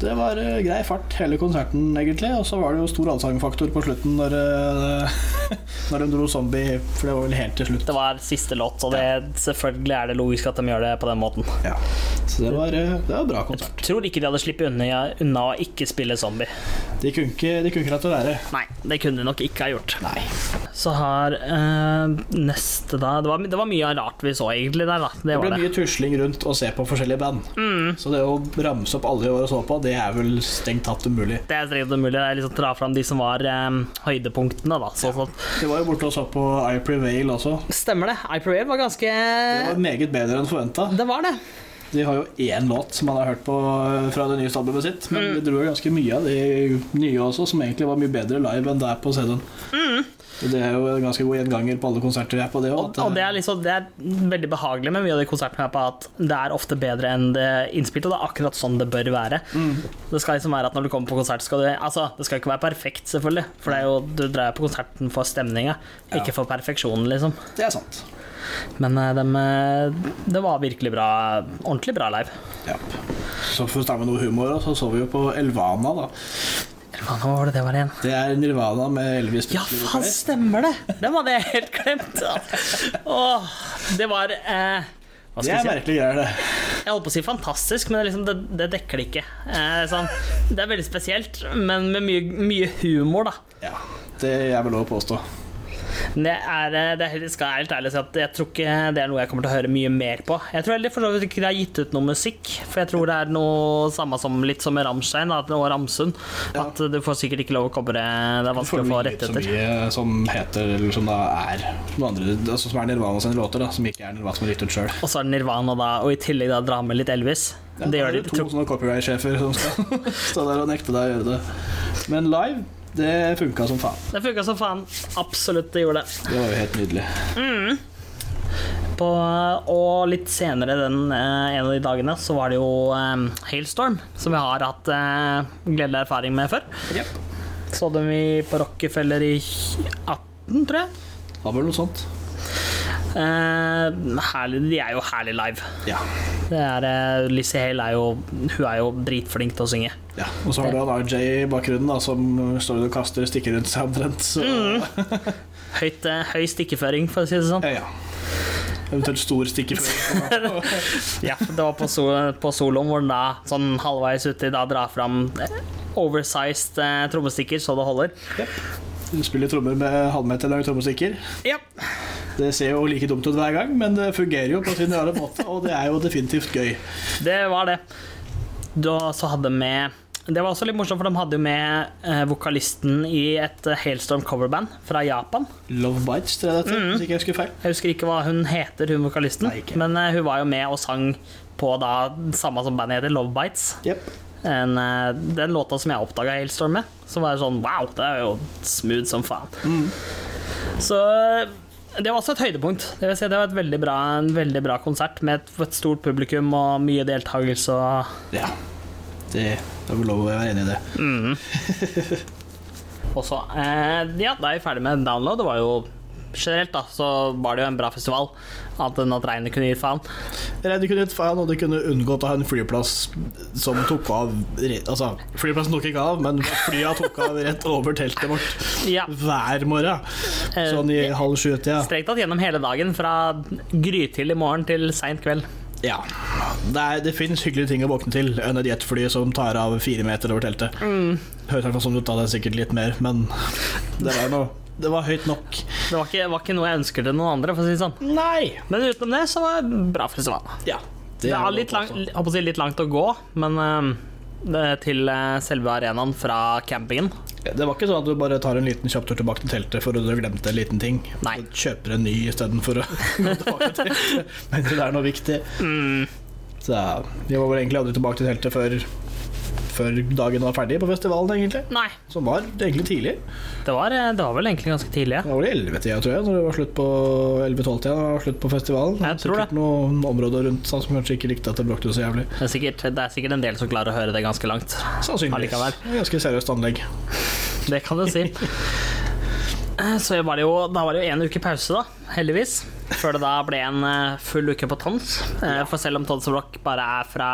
B: Det var eh, grei fart hele konserten, egentlig. Og så var det jo stor allsangfaktor på slutten når, eh, når de dro zombie, for det var vel helt til slutt.
A: Det var siste låt, så det, selvfølgelig er det logisk at de gjør det på den måten.
B: Ja. Så det var, eh, det var en bra konsert.
A: Tror ikke de hadde sluppet unna, unna å ikke spille zombie.
B: De kunne ikke, de kunne ikke latt det være.
A: Nei, det kunne de nok ikke ha gjort.
B: Nei.
A: Så har eh, neste da det var, det var mye rart vi så egentlig der, da. Det
B: Det ble
A: var det. Mm.
B: mye tusling rundt å se på forskjellige band. Så det å ramse opp alle de åra så på, det er vel strengt tatt umulig.
A: Det er strengt umulig. Det er liksom dra fram de som var eh, høydepunktene, da. Så, sånn.
B: Vi var jo borte og så på I Prevail også.
A: Stemmer det. I Parade var ganske
B: Det var meget bedre enn forventa.
A: Det var det.
B: De har jo én låt som man har hørt på fra det nye albumet sitt, men
A: Mm.
B: de dro jo ganske mye av de nye også, som egentlig var mye bedre live enn der på CD-en.
A: Mm.
B: Og Det er jo en ganske god gjenganger på alle konserter jeg er på, det
A: Og, og det,
B: òg.
A: er liksom, det er veldig behagelig med mye av de konsertene her på at det er ofte bedre enn det innspilte, og det er akkurat sånn det bør være. Det skal liksom være at når du kommer på konsert, skal du Altså, det skal ikke være perfekt, selvfølgelig, for det er jo, du drar jo på konserten for stemninga, ikke for perfeksjonen, liksom.
B: Det er sant.
A: Men eh, dem, eh, det var virkelig bra. Ordentlig bra live.
B: Ja. Så for å starte med noe humor, så så vi jo på Elvana, da.
A: Eller hva nå var det det var igjen?
B: Det er Nirvana med Elvis
A: Ja,
B: Presley
A: faen,
B: vokalist.
A: stemmer det! Den hadde jeg helt glemt. altså. Åh, det var eh, Hva
B: Det
A: skal
B: er
A: jeg si?
B: merkelig greier, det.
A: Jeg holdt på å si fantastisk, men det, er liksom, det, det dekker det ikke. Eh, sånn. Det er veldig spesielt, men med mye, mye humor, da.
B: Ja, det jeg vil også påstå.
A: Men det er, eh, det er, helt- skal jeg helt ærlig si at jeg tror ikke det er noe jeg kommer til å høre mye mer på. Jeg tror heller for så vidt ikke de har gitt ut noe musikk, for jeg tror det er noe samme som litt som med Rammstein da, og Ramsund.
B: Ja.
A: At du får sikkert ikke lov å kobre Det er vanskelig å få
B: Forvrengelig
A: rettigheter.
B: Så mye som heter, eller som da er som, andre, altså, som er Nirvana sine låter, da, som ikke er Nirvana som er gitt ut sjøl.
A: Og så er det Nirvana, da, og i tillegg da dra med litt Elvis.
B: Ja,
A: det
B: da er
A: gjør de.
B: to sånne copyright-sjefer som skal stå der og nekte deg å gjøre det. Men live, det funka som faen.
A: Det funka som faen. Absolutt, det gjorde det.
B: Det var jo helt nydelig.
A: På, og litt senere den eh, en av de dagene så var det jo eh, Hailstorm, som vi har hatt eh, gledelig erfaring med før. Så dem vi på Rockefeller i 18, tror jeg.
B: Det var vel noe sånt.
A: Eh, herlig, de er jo herlig live.
B: Ja.
A: Det er, eh, Lizzie Hale er jo, hun er jo dritflink til å synge.
B: ja. Og så har du han RJ i bakgrunnen, da, som står og kaster stikker
A: Mm.
B: rundt seg omtrent. Så
A: Høyt, eh, høy stikkeføring, for å si det sånn.
B: ja, ja. Eventuelt stor stikkefrø.
A: Ja, det var på, so på soloen hvor den da, sånn halvveis uti, da drar fram eh, oversized eh, trommestikker så det holder.
B: Du spiller trommer med halvmeter lange trommestikker.
A: Ja.
B: Det ser jo like dumt ut hver gang, men det fungerer jo på sin rare måte, og det er jo definitivt gøy.
A: Det var det. Da så hadde med Det var også litt morsomt, for de hadde jo med eh, vokalisten i et eh, Hailstorm coverband fra Japan.
B: Love Bites, tror jeg det heter, hvis ikke jeg husker feil.
A: Jeg husker ikke hva hun heter, hun vokalisten,
B: Nei, ikke.
A: men eh, hun var jo med og sang på da samme som bandet heter, Love Bites.
B: Jep.
A: En, eh, den låta som jeg oppdaga Hailstorm med, som var det sånn Wow, det er jo smooth som faen.
B: Mm.
A: Så eh, det var også et høydepunkt. Det, vil si, det var et veldig bra, en veldig bra konsert med et, et stort publikum og mye deltakelse. Og
B: Ja. Det det er vel lov å være enig i det.
A: og så, eh, ja, da er vi ferdig med download. Det var jo generelt, da, så var det jo en bra festival. Annet enn at regnet kunne gitt faen.
B: Eller du kunne gitt faen, og du kunne unngått å ha en flyplass som tok av re- Altså, flyplassen tok ikke av, men flya tok av rett over teltet vårt
A: Ja.
B: hver morgen. Sånn i halv sju-tida.
A: Strengt tatt gjennom hele dagen, fra grytidlig morgen til seint kveld.
B: Ja. Det, er, det finnes hyggelige ting å våkne til enn et jetfly som tar av fire meter over teltet.
A: Mm.
B: Høres i hvert fall sånn ut, da. Det er sikkert litt mer, men det var, noe, det var høyt nok.
A: Det var ikke, var ikke noe jeg ønsket til noen andre, for å si det sånn.
B: Nei!
A: Men utenom det, så var det bra festival.
B: Ja.
A: Det er litt, lang, jeg håper å si litt langt å gå, men eh, det er til eh, selve arenaen fra campingen.
B: Det var ikke sånn at du bare tar en liten kjapp tur tilbake til teltet for at du glemte en liten ting.
A: Nei.
B: Du kjøper en ny istedenfor å gå tilbake til teltet. Men det er noe viktig.
A: Mm.
B: Så vi var vel egentlig aldri tilbake til teltet før, før dagen var ferdig på festivalen, egentlig.
A: Nei,
B: Som var egentlig tidlig.
A: det var, eh, det var vel egentlig ganske tidlig. ja.
B: Det var vel i 11-tida, tror jeg, når det var slutt på 11-12-tida. det var Slutt på festivalen.
A: Jeg tror det.
B: Sikkert noen områder rundt sånn som kanskje ikke likte at det bråkte så jævlig.
A: Det er, sikkert, det er sikkert en del som klarer å høre det ganske langt.
B: Sannsynligvis.
A: Allikevel.
B: Det var Ganske seriøst anlegg.
A: Det kan du si. Eh, Så var det jo, da var det jo en uke pause, da, heldigvis. Før det da ble en eh, full uke på Tons. Eh, For selv om Tons Rock bare er fra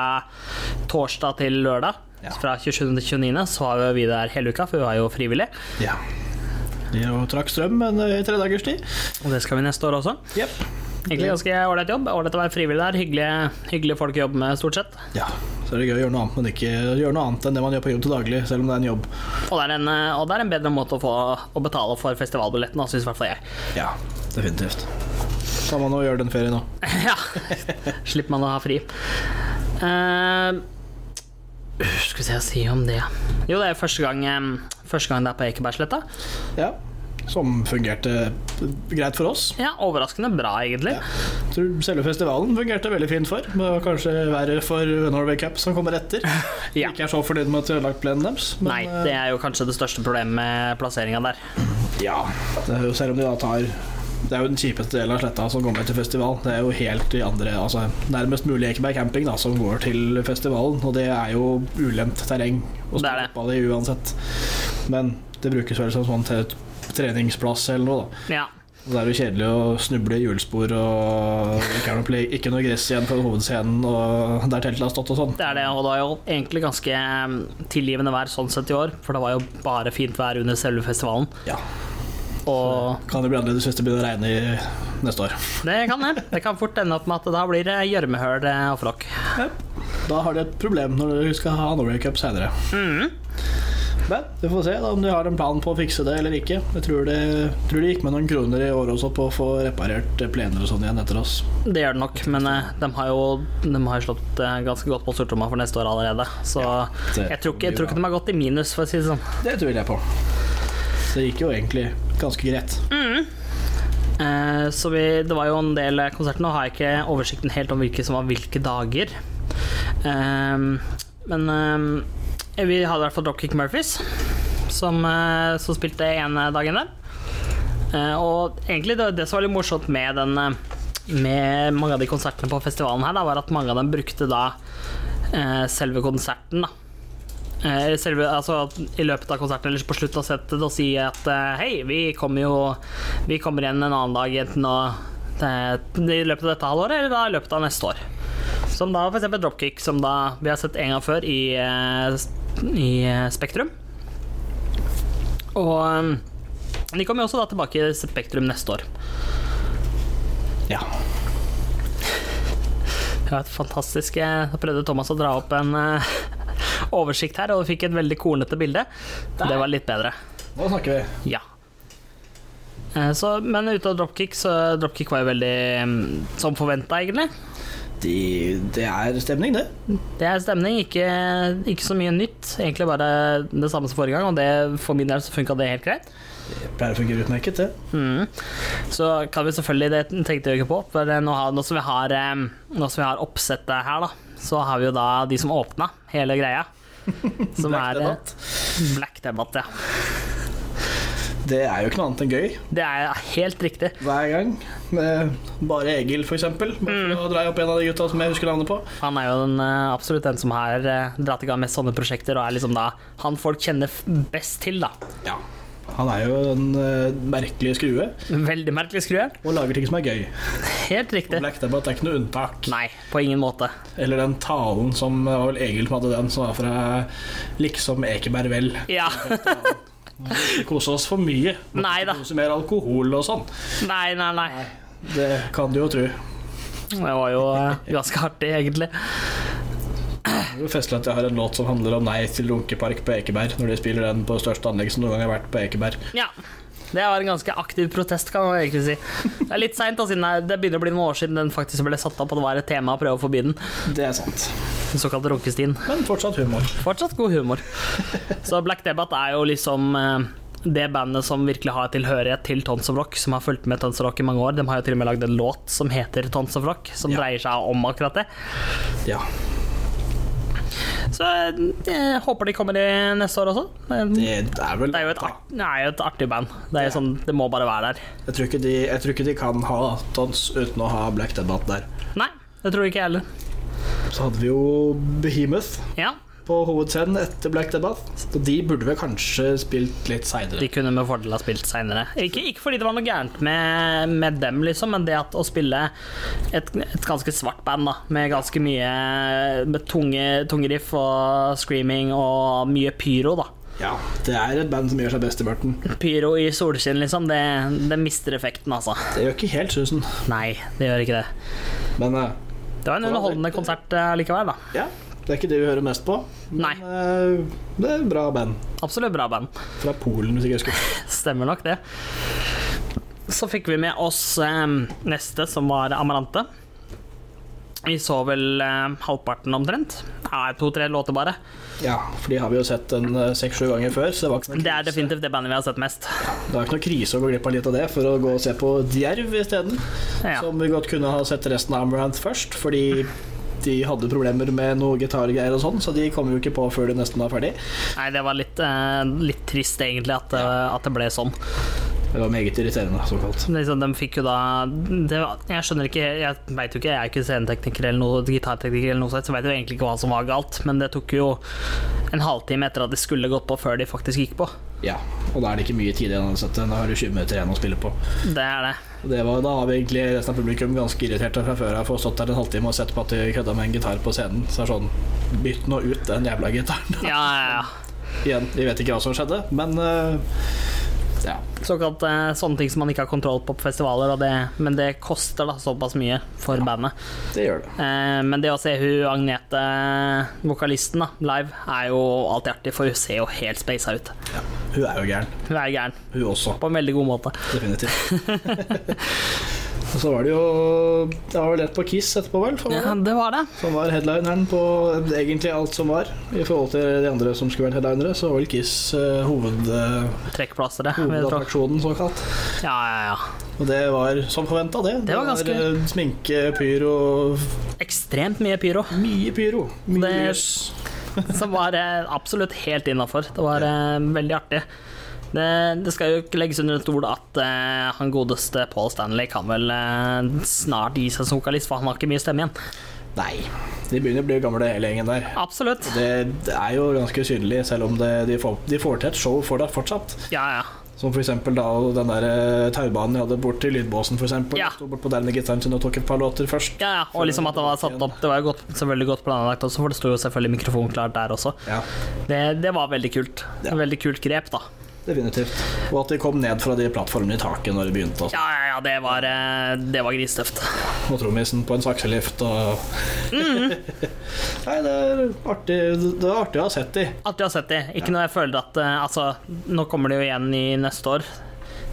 A: torsdag til lørdag,
B: Ja.
A: fra 27. til 29., så var jo vi der hele uka, for vi var jo frivillige.
B: Ja. De jo trakk strøm en eh, i tre dagers tid.
A: Og det skal vi neste år også.
B: Yep.
A: Egentlig ganske ålreit jobb. Ålreit å være frivillig der. Hyggelige, hyggelige folk å jobbe med, stort sett.
B: Ja, så er det gøy å gjøre noe annet, men ikke gjøre noe annet enn det man gjør på jobb til daglig, selv om det er en jobb.
A: Og det er en, eh, og det er en bedre måte å, få, å betale for festivalbilletten, syns i hvert fall jeg.
B: Ja, definitivt. Kan man jo gjøre den ferien òg.
A: ja. Slipper man å ha fri. Eh, skal vi se hva jeg sier om det Jo, det er første gang, eh, første gang det er på Ekebergsletta.
B: Ja. Som fungerte greit for oss.
A: Ja, overraskende bra, egentlig.
B: Jeg tror selve festivalen fungerte veldig fint for. Men det var kanskje verre for Norway Cup som kommer etter.
A: Ja.
B: Ikke er så fornøyd med at de har lagt plenen deres. men, eh,
A: Nei, det er jo kanskje det største problemet med plasseringa der.
B: Ja, det er jo selv om de da tar Det er jo den kjipeste delen av sletta som kommer til festival. Det er jo helt i andre Altså nærmest mulig Ekeberg camping da som går til festivalen, og det er jo ulendt terreng å
A: Det er
B: spille
A: det.
B: fotball i uansett. Men det brukes vel som sånn tre- treningsplass eller noe, da.
A: Ja.
B: Og Det er jo kjedelig å snuble i hjulspor og ikke, er noe ple- ikke noe gress igjen for hovedscenen og der teltet har stått og sånn.
A: Det er det, og det var jo egentlig ganske eh, tilgivende vær sånn sett i år, for det var jo bare fint vær under selve festivalen.
B: Ja.
A: Og
B: Kan det bli annerledes hvis det begynner å regne i neste år.
A: Det kan det. Det kan fort ende opp med at da blir det gjørmehøl eh, og flokk.
B: Da har de et problem når du skal ha Norway Cup senere.
A: Mm.
B: Men vi får se da, om de har en plan på å fikse det eller ikke. Jeg tror det, tror det gikk med noen kroner i år også på å få reparert plener og sånn igjen etter oss.
A: Det gjør det nok, men eh, de har jo de har jo slått eh, ganske godt på stortromma for neste år allerede. Så
B: det
A: jeg tror ikke,
B: blir
A: jeg tror ikke de har gått i minus, for å si det sånn.
B: Det tviler jeg på. Det gikk jo egentlig ganske greit.
A: Mm. Eh, Så vi, det var jo en del konserter. Nå har jeg ikke oversikten helt om hvilke som var hvilke dager. Ehm, Men eh, vi hadde i hvert fall Dropkick Murphys, som, eh, som spilte ene dagen der. Eh, og egentlig det, det som var litt morsomt med, den, eh, med mange av de konsertene på festivalen her, da, var at mange av dem brukte da eh, selve konserten, da. Eh, Selve, altså, at I løpet av konserten eller på slutt av settet å si at eh, hei, vi kommer jo Vi kommer igjen en annen dag, enten å, det- i løpet av dette halvåret eller da i løpet av neste år. Som da f.eks. Dropkick, som da vi har sett en gang før i, eh, s- i eh, Spektrum. Og eh, de kommer jo også da tilbake i Spektrum neste år.
B: Ja.
A: Det var et fantastisk Jeg prøvde Thomas å dra opp en eh, oversikt her, og fikk et veldig kornete bilde. Det var litt bedre.
B: Nå snakker vi.
A: Ja. Eh, Så, men ute av dropkick, så dropkick var jo veldig mm, som forventa, egentlig.
B: De, det er stemning, det.
A: Det er stemning, ikke, ikke så mye nytt. Egentlig bare det samme som forrige gang, og det, for min del så funka det helt greit.
B: Det pleier å fungere utmerket, det.
A: Mm. Så kan vi selvfølgelig Det tenkte jeg ikke på, for nå, har, nå, som vi har, eh, nå som vi har oppsettet her, da, så har vi jo da de som åpna hele greia. Som
B: Black
A: er eh,
B: Debatt.
A: Black Debatt, ja.
B: Det er jo ikke noe annet enn gøy
A: Det er helt riktig.
B: hver gang. Med bare Egil, for eksempel.
A: Mm.
B: Bare for å dra opp en av de gutta som jeg husker navnet på.
A: Han er jo den, eh, absolutt den som har eh, dratt i gang mest sånne prosjekter, og er liksom da han folk kjenner f- best til, da.
B: Ja. Han er jo en eh, merkelig skrue,
A: Veldig merkelig skrue.
B: og lager ting som er gøy.
A: Helt riktig.
B: Black Debatt er ikke noe unntak.
A: Nei, på ingen måte.
B: Eller den talen som det var vel Egil som hadde den, som var fra liksom Ekeberg Vel.
A: Ja.
B: Kose oss for mye.
A: Nei da.
B: Kose mer alkohol og sånn.
A: Nei, nei, nei.
B: Det kan du jo tro.
A: Det var jo eh, ganske artig, egentlig.
B: Det er jo festlig at jeg har en låt som handler om nei til Lunkepark på Ekeberg, når de spiller den på det største anlegg som noen gang har vært på Ekeberg.
A: Ja. Det var en ganske aktiv protest, kan man egentlig si. Det er litt seint, da, siden det det begynner å bli noen år siden den faktisk ble satt opp, og det var et tema å prøve å forby den.
B: Det er sant.
A: Den såkalte runkestien.
B: Men fortsatt humor.
A: Fortsatt god humor. Så Black Debate er jo liksom eh, det bandet som virkelig har tilhørighet til Tons of Rock, som har fulgt med Tons of Rock i mange år. De har jo til og med lagd en låt som heter Tons of Rock, som
B: Ja.
A: dreier seg om akkurat det.
B: Ja,
A: Så eh, jeg håper de kommer i neste år også. Det
B: det er vel
A: er jo et, art, det er jo et artig band. Det, er jo sånn, det må bare være der.
B: Jeg tror, ikke de, jeg tror ikke de kan ha Tons uten å ha Black Debatt der.
A: Nei, det tror jeg ikke jeg heller.
B: Så hadde vi jo Behemoth
A: Ja,
B: på hovedscenen etter Black Debath. Og de burde vel kanskje spilt litt
A: de
B: seinere.
A: kunne med fordel ha spilt seinere. Ikke, ikke fordi det var noe gærent med, med dem, liksom, men det at å spille et, et ganske svart band da, med ganske mye med tunge, tunge riff og screaming og mye pyro, da.
B: Ja, det er et band som gjør seg best i mørten.
A: Pyro i solskinn, liksom, det, det mister effekten, altså.
B: Det gjør ikke helt susen,
A: Nei, det gjør ikke det.
B: men eh,
A: Det var en underholdende konsert eh, likevel, da.
B: ja. Det er ikke det vi hører mest på. Men
A: Nei.
B: eh, det er et bra band.
A: Absolutt bra band.
B: Fra Polen, hvis ikke jeg husker.
A: Stemmer nok det. Så fikk vi med oss eh, neste, som var Amarante. Vi så vel eh, halvparten omtrent. Ja, To-tre låter bare.
B: Ja, for de har vi jo sett en eh, seks-sju ganger før, så det var, ikke noe
A: Det er
B: krise.
A: definitivt det bandet vi har sett mest.
B: det var ikke noe krise å gå glipp av litt av det for å gå og se på Djerv isteden.
A: Ja.
B: Som vi godt kunne ha sett resten av Amaranth først, fordi de hadde problemer med noe gitargreier og sånn, så de kom jo ikke på før de nesten var ferdig.
A: Nei, det var litt, eh, litt trist, egentlig, at, eh, at det ble sånn.
B: Det var meget irriterende, såkalt.
A: Liksom, de fikk jo da det var, Jeg skjønner ikke Jeg vet jo ikke, jeg er ikke scenetekniker eller noe gitartekniker, eller noe sånt, så jeg vet jo egentlig ikke hva som var galt, men det tok jo en halvtime etter at de skulle gått på, før de faktisk gikk på.
B: Ja, og da er det ikke mye tid igjen å sette. Nå har du 20 minutter igjen å spille på.
A: Det er det.
B: Og det var, da var vi egentlig resten av publikum ganske irriterte fra før av for å ha stått der en halvtime og sett på at de kødda med en gitar på scenen. Så det er sånn Bytt nå ut den jævla gitaren.
A: Ja, ja, ja.
B: igjen, vi vet ikke hva som skjedde, men eh, ja.
A: Såkalt eh, sånne ting som man ikke har kontroll på på festivaler, og det, men det koster da såpass mye for bandet.
B: Det gjør det.
A: Eh, men det å se hun Agnete, eh, vokalisten, da, live, er jo alltid artig, for hun ser jo helt speisa ut.
B: Ja. Hun er jo gæren,
A: Hun er gæren,
B: hun også.
A: på en veldig god måte.
B: Definitivt. Og så var det jo Det var vel rett på Kiss etterpå, vel? For
A: Ja, det var det.
B: Som var headlineren på egentlig alt som var. I forhold til de andre som skulle vært headlinere, så var vel Kiss eh, hoved, eh,
A: Trekkplassere. vil jeg tro.
B: hovedattraksjonen, såkalt.
A: Ja, ja, ja.
B: Og det var som forventa, det.
A: Det var ganske-
B: eh, sminke, pyro
A: Ekstremt mye pyro,
B: Mye pyro. Mye
A: Det-
B: lys.
A: som var eh, absolutt helt innafor. Det var eh, veldig artig. Det, det skal jo ikke legges under en stol at eh, han godeste Paul Stanley kan vel eh, snart gi seg som vokalist, for han har ikke mye stemme igjen.
B: Nei. De begynner å bli gamle, hele gjengen der.
A: Absolutt.
B: Det, det er jo ganske synlig, selv om det, de, får, de får til et show for deg fortsatt.
A: Ja, ja.
B: Som for eksempel da den der eh, taubanen jeg hadde bort til lydbåsen, for eksempel.
A: Ja.
B: Sto bort på der med gitaren sin og tok et par låter først.
A: ja, ja. Og liksom at det var satt opp Det var jo godt, selvfølgelig godt planlagt også, for det sto jo selvfølgelig mikrofon klart der også.
B: Ja,
A: Det, det var veldig kult.
B: Ja.
A: Veldig kult grep, da.
B: definitivt. Og at de kom ned fra de plattformene i taket når det begynte. og sånt.
A: Ja, ja, ja, det var, eh, det var gristøft.
B: og trommisen på en sakselift og
A: Mhm.
B: Nei, det er artig Det er artig å ha sett de.
A: Artig å ha sett de. Ikke noe jeg føler at eh, Altså, nå kommer de jo igjen i neste år.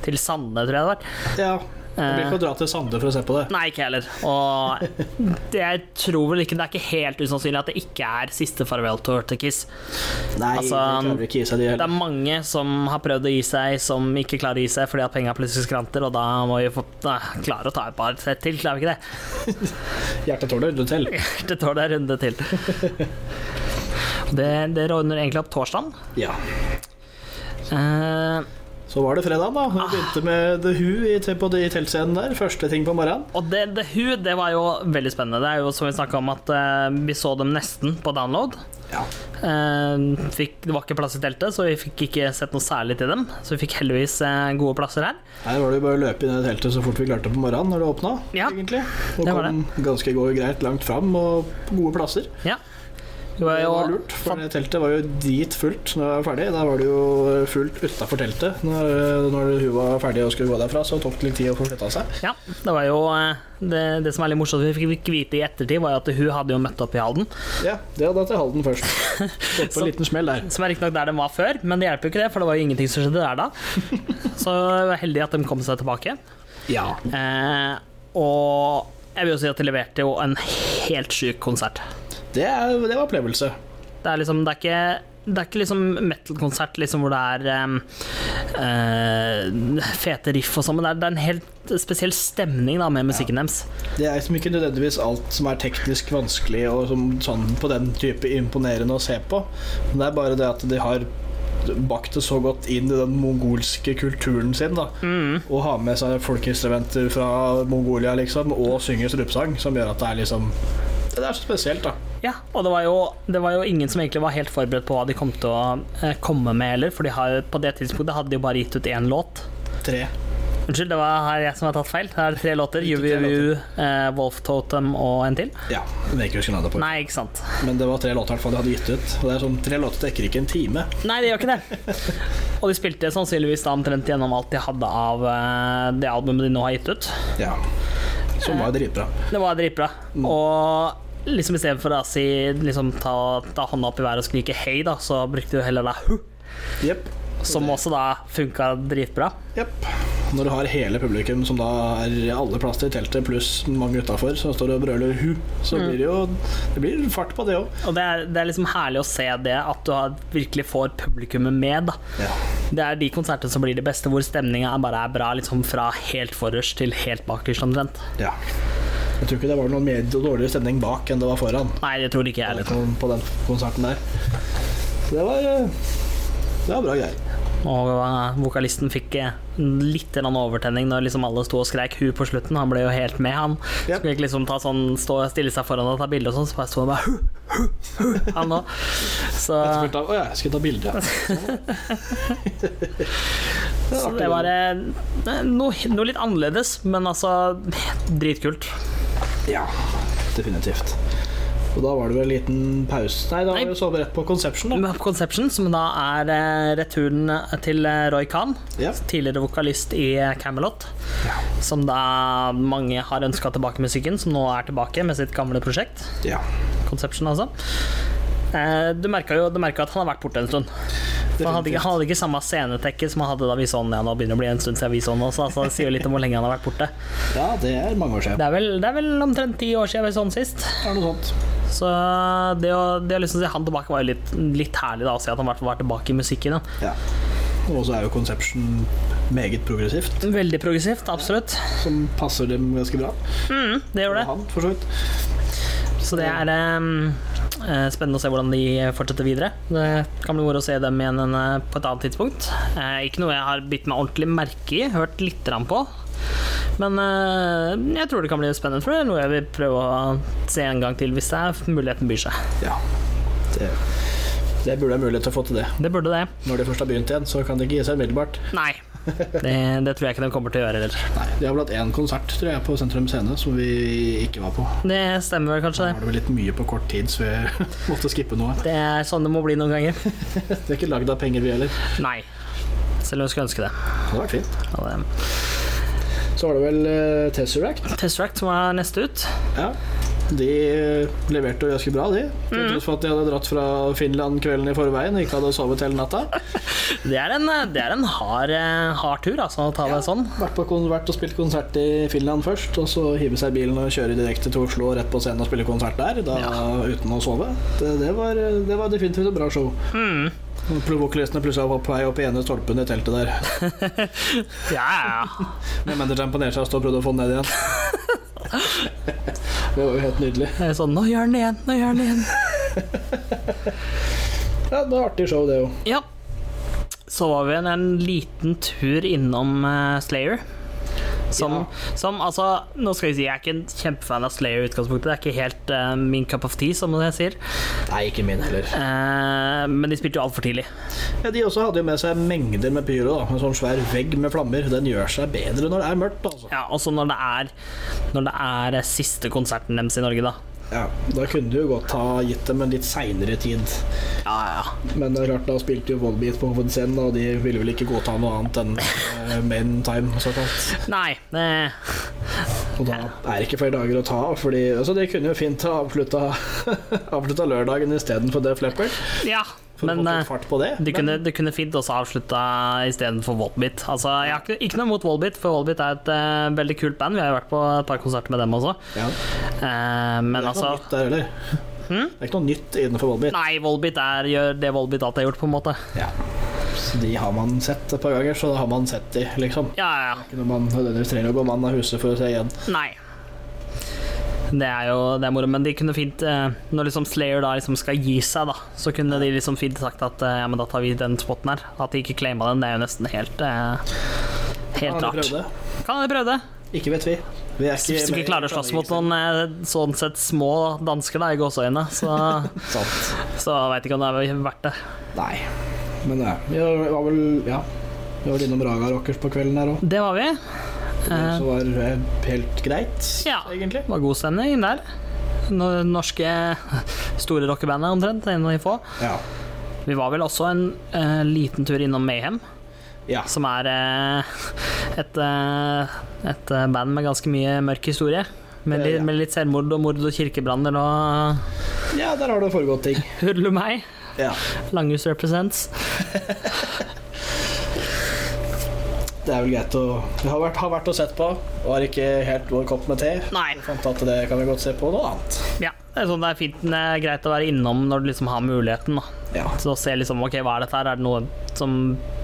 A: Til Sande, tror jeg det var.
B: Ja. Jeg blir ikke å dra til Sande for å se på det.
A: Nei, ikke jeg heller. Og det, jeg tror vel ikke Det er ikke helt usannsynlig at det ikke er siste farvel-tour til Kiss.
B: Nei,
A: Altså,
B: det klarer ikke å gi seg de
A: Det
B: heller.
A: er mange som har prøvd å gi seg, som ikke klarer å gi seg fordi at penga plutselig skranter, og da må vi få da, klare å ta et par sett til, klarer vi ikke det?
B: Hjertet tåler rundt til.
A: Det tåler en runde til. Det, det rådner egentlig opp torsdagen.
B: Ja.
A: Eh,
B: Så var det fredag, da.
A: Ah.
B: Vi begynte med The Who i, på de, i teltscenen der. Første ting på morgenen.
A: og det, The Who, det var jo veldig spennende. Det er jo som vi snakka om, at eh, vi så dem nesten på download.
B: Ja.
A: Eh, fikk, det var ikke plass i teltet, så vi fikk ikke sett noe særlig til dem. Så vi fikk heldigvis eh, gode plasser her.
B: Her var det jo bare å løpe inn i det teltet så fort vi klarte på morgenen når det åpna.
A: Ja,
B: egentlig. Og
A: det var
B: kom ganske go- greit langt fram og på gode plasser.
A: Ja. Det
B: Det
A: var jo
B: var lurt, for det teltet var jo dritfullt når jeg var ferdig. Da var det jo fullt utafor teltet. Når, når hun var ferdig og skulle gå derfra, så tok det litt tid å få flytta seg.
A: Ja, det var jo eh, det, det som er litt morsomt, vi fikk vite i ettertid, var jo at hun hadde jo møtt opp i Halden.
B: Ja, det hadde jeg til Halden først. Gått på
A: Så-
B: en liten smell der.
A: Som er riktignok der de var før, men det hjelper jo ikke det, for det var jo ingenting som skjedde der da. Så jeg var heldig at de kom seg tilbake.
B: Ja.
A: Eh, og jeg vil jo si at de leverte jo en helt sjuk konsert.
B: Det, er, det var opplevelse.
A: Det er liksom, det er ikke det er ikke liksom metal-konsert liksom hvor det er em, eh, fete riff og sånn, men det er, det er en helt spesiell stemning da med musikken deres.
B: Det er som ikke nødvendigvis alt som er teknisk vanskelig og som, sånn på den type imponerende å se på. Men det er bare det at de har bakt det så godt inn i den mongolske kulturen sin. da
A: Mm.
B: Og har med seg folkeinstrumenter fra Mongolia liksom og synger strupesang, som gjør at det er liksom Det er så spesielt, da.
A: Ja, og det var, jo, det var jo ingen som egentlig var helt forberedt på hva de kom til å eh, komme med heller, for de har, på det tidspunktet hadde de jo bare gitt ut én låt.
B: Tre.
A: Unnskyld, det var her jeg som har tatt feil. Her er det tre låter.
B: Gitt ut tre
A: UVU, eh, Wolf Totem og en til.
B: Ja, men jeg ikke husker navnet på
A: Nei, ikke sant.
B: Men det var tre låter i hvert fall de hadde gitt ut. Og det er sånn, Tre låter dekker ikke en time.
A: Nei, det gjør ikke det. Og de spilte sannsynligvis da omtrent gjennom alt de hadde av eh, det albumet de nå har gitt ut.
B: Ja Som var dritbra.
A: Det var dritbra. Og liksom i stedet for å si liksom ta, ta hånda opp i været og skrike hei, da, så brukte du heller da hu,
B: Jepp.
A: som også da funka dritbra.
B: Jepp. Når du har hele publikum, som da er alle plasser i teltet, pluss mange utafor, som står og brøler 'hu', så
A: Mm.
B: blir det jo Det blir fart på det òg.
A: Og det er, det er liksom herlig å se det, at du har, virkelig får publikummet med. Da.
B: Ja.
A: Det er de konsertene som blir de beste, hvor stemninga bare er bra liksom fra helt forrest til helt bakerst omtrent.
B: ja. Jeg tror ikke det var noe mer dårligere stemning bak enn det var foran
A: Nei, det tror ikke jeg
B: eller
A: heller.
B: noe på den konserten der. Så det var eh, Det var bra greier.
A: Og eh, vokalisten fikk eh, litt grann overtenning når liksom alle sto og skreik 'hu' på slutten. Han ble jo helt med, han.
B: Ja.
A: Skulle ikke liksom ta sånn, stå, stille seg foran og ta bilde og sånn, så bare sto han bare 'hu', 'hu', 'hu', han òg. Så,
B: Etterfulgt av 'Å ja, jeg skal ta bilde'. det,
A: så det
B: var artig.
A: var eh, noe, noe litt annerledes, men altså dritkult.
B: Ja, definitivt. Og da var det vel en liten pause Nei, da
A: Nei. Mm.
B: var vi sove rett på Conception, da.
A: Med Up Conception, som da er eh, returen til eh, Roy Khan,
B: Ja.
A: tidligere vokalist i eh, Camelot,
B: Ja.
A: som da mange har ønska tilbake musikken, som nå er tilbake med sitt gamle prosjekt.
B: ja.
A: Conception, altså. Eh, Du merka jo du merket at han har vært borte en stund. For Han hadde, ikke, han hadde ikke samme scenetekke som han hadde da vi så han igjen. Og begynner å bli en stund siden vi så han også, altså, det sier jo litt om hvor lenge han har vært borte.
B: Ja, det er mange år siden.
A: Det er vel, det er vel omtrent ti år siden vi så han sist.
B: Det er noe sånt.
A: Så det å, det å liksom se han tilbake var jo litt, litt herlig, da, å se at han i hvert fall var tilbake i musikken. Da.
B: Ja. Og så er jo Conception meget progressivt,
A: Veldig progressivt, absolutt.
B: som passer dem ganske bra.
A: Mm, det gjør
B: Og
A: det.
B: han, for så vidt.
A: Så det er em, eh, spennende å se hvordan de fortsetter videre. Det kan bli moro å se dem igjen en, eh, på et annet tidspunkt. Eh, ikke noe jeg har bitt meg ordentlig merke i, hørt litt grann på. Men eh, jeg tror det kan bli spennende, for det er noe jeg vil prøve å se en gang til hvis det er muligheten byr seg.
B: Ja. Det, det burde være mulighet til å få til det.
A: Det burde det.
B: Når de først har begynt igjen, så kan det ikke gi seg umiddelbart.
A: Nei. Det, det tror jeg ikke de kommer til å gjøre heller.
B: Nei, De har vel hatt én konsert tror jeg, på Sentrum Scene som vi ikke var på.
A: Det stemmer vel kanskje,
B: Da
A: det.
B: var det vel litt mye på kort tid, så vi måtte skippe noe.
A: Det er sånn det må bli noen ganger.
B: Vi er ikke lagd av penger, vi heller.
A: Nei. Selv om jeg skulle ønske det. eh,
B: Det hadde vært fint.
A: Ja, det-
B: Så var det vel eh, Tesseract.
A: Tesseract som er neste ut.
B: Ja. De eh, leverte jo ganske bra, de. Til tross for at de hadde dratt fra Finland kvelden i forveien og ikke hadde sovet hele natta.
A: Det er en, det er en hard, eh, hard tur, altså, å ta det sånn.
B: Vært på kon- vært og spilt konsert i Finland først, og så hive seg i bilen og kjøre direkte til Oslo og rett på scenen og spille konsert der, da, uten å sove. Det, det, var, det var definitivt et bra show.
A: Mm.
B: Vokalistene plutselig var på vei opp i ene stolpen i teltet der.
A: Ja, ja.
B: Men manageren på nedsida stod og prøvde å få den ned igjen. det var jo helt nydelig.
A: Det er Sånn, nå gjør den det igjen, nå gjør den det igjen.
B: Ja, det var artig show, det jo.
A: Ja. Så var vi en, en liten tur innom eh, Slayer. Som, som altså Nå skal jeg si, jeg er ikke en kjempefan av Slayer i utgangspunktet. Det er ikke helt eh, min cup of tea, som jeg sier.
B: Nei, ikke min heller.
A: Eh, men de spilte jo altfor tidlig.
B: Ja, de også hadde jo med seg mengder med pyro. da En sånn svær vegg med flammer. Den gjør seg bedre når det er mørkt, altså.
A: Ja, Også når det er Når det er eh, siste konserten deres i Norge, da.
B: Ja, Da kunne du jo godt ha gitt dem en litt seinere tid.
A: Ja, ja.
B: Men det er klart, da spilte jo Volbeat på hovedscenen, og de ville vel ikke godta noe annet enn uh, Main Time. Såkalt.
A: Nei. eh,
B: Og da er det ikke flere dager å ta av, fordi altså, de kunne jo fint ha avslutta, avslutta lørdagen istedenfor Def Leppard.
A: ja.
B: For
A: Men
B: å få
A: eh,
B: litt fart på det.
A: Du
B: Men-
A: kunne, du kunne fint også avslutta istedenfor Wallbeat. Altså, jeg har ikke, ikke noe mot Wallbeat, for Wallbeat er et eh, veldig kult band. Vi har jo vært på et par konserter med dem også.
B: ja.
A: Eh, men
B: Det er
A: altså
B: ikke
A: Hm?
B: noe nytt der heller. Det er ikke noe nytt innenfor Volbeat.
A: Nei, Wallbeat er, gjør det Wallbeat alltid har gjort, på en måte.
B: Ja. Så de har man sett et par ganger, så da har man sett de, liksom.
A: Ja, ja, ja.
B: Ikke noe man nødvendigvis trenger å gå mann av huset for å se igjen.
A: Nei. Det er jo det er moro, men de kunne fint eh, Når liksom Slayer da liksom skal gi seg, da, så kunne de liksom fint sagt at eh, ja, men da tar vi den spotten her. At de ikke claima den, det er jo nesten helt eh, Helt
B: Ja, de
A: rart.
B: prøvde.
A: Kan de prøve det?
B: Ikke vet vi. Vi er
A: Hvis du
B: med
A: ikke
B: i
A: klarer å slåss mot noen eh, sånn sett små dansker da, i gåseøyne, så,
B: Sant.
A: så veit ikke om det er verdt det.
B: Nei. Men ja, vi var vel Ja. Vi var innom Raga Rockers på kvelden her òg.
A: Det var vi. Eh,
B: Så var det helt greit,
A: Ja.
B: egentlig.
A: det var god stemning der. Når det norske store rockebandet omtrent. En av de få.
B: Ja.
A: Vi var vel også en eh, liten tur innom Mayhem,
B: ja.
A: som er eh, et, eh, et eh, band med ganske mye mørk historie. Med,
B: Eh,
A: li,
B: ja.
A: med litt selvmord og mord og kirkebranner og
B: Ja, der har det foregått ting.
A: hurlumhei.
B: Ja.
A: Langhus represents.
B: Det er vel greit å Det har vært, har vært og sett på. Var ikke helt vår kopp med te.
A: Nei.
B: Vi Fant at det kan vi godt se på noe annet.
A: Ja, det er, sånn det er fint, det er greit å være innom når du liksom har muligheten. Da.
B: Ja.
A: Så se liksom, ok, hva er dette her, er det noe som,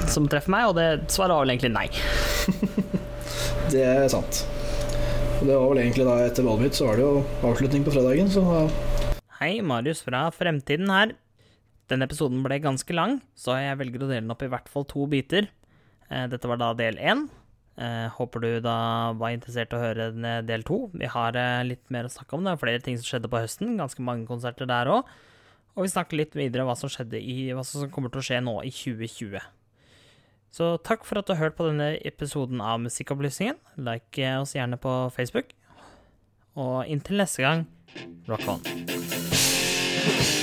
A: som treffer meg? Og det svaret var vel egentlig nei.
B: Det er sant. Og det var vel egentlig da etter Valbyt, så var det jo avslutning på fredagen, så da
A: Hei, Marius fra Fremtiden her. Denne episoden ble ganske lang, så jeg velger å dele den opp i hvert fall to biter. Eh, Dette var da del én. Eh, Håper du da var interessert i å høre den, eh, del to. Vi har eh, litt mer å snakke om. Det er flere ting som skjedde på høsten. Ganske mange konserter der òg. Og vi snakker litt videre om hva som, skjedde i, hva som kommer til å skje nå i 2020. Så takk for at du har hørt på denne episoden av Musikkopplysningen. Like eh, oss gjerne på Facebook. Og inntil neste gang, rock on.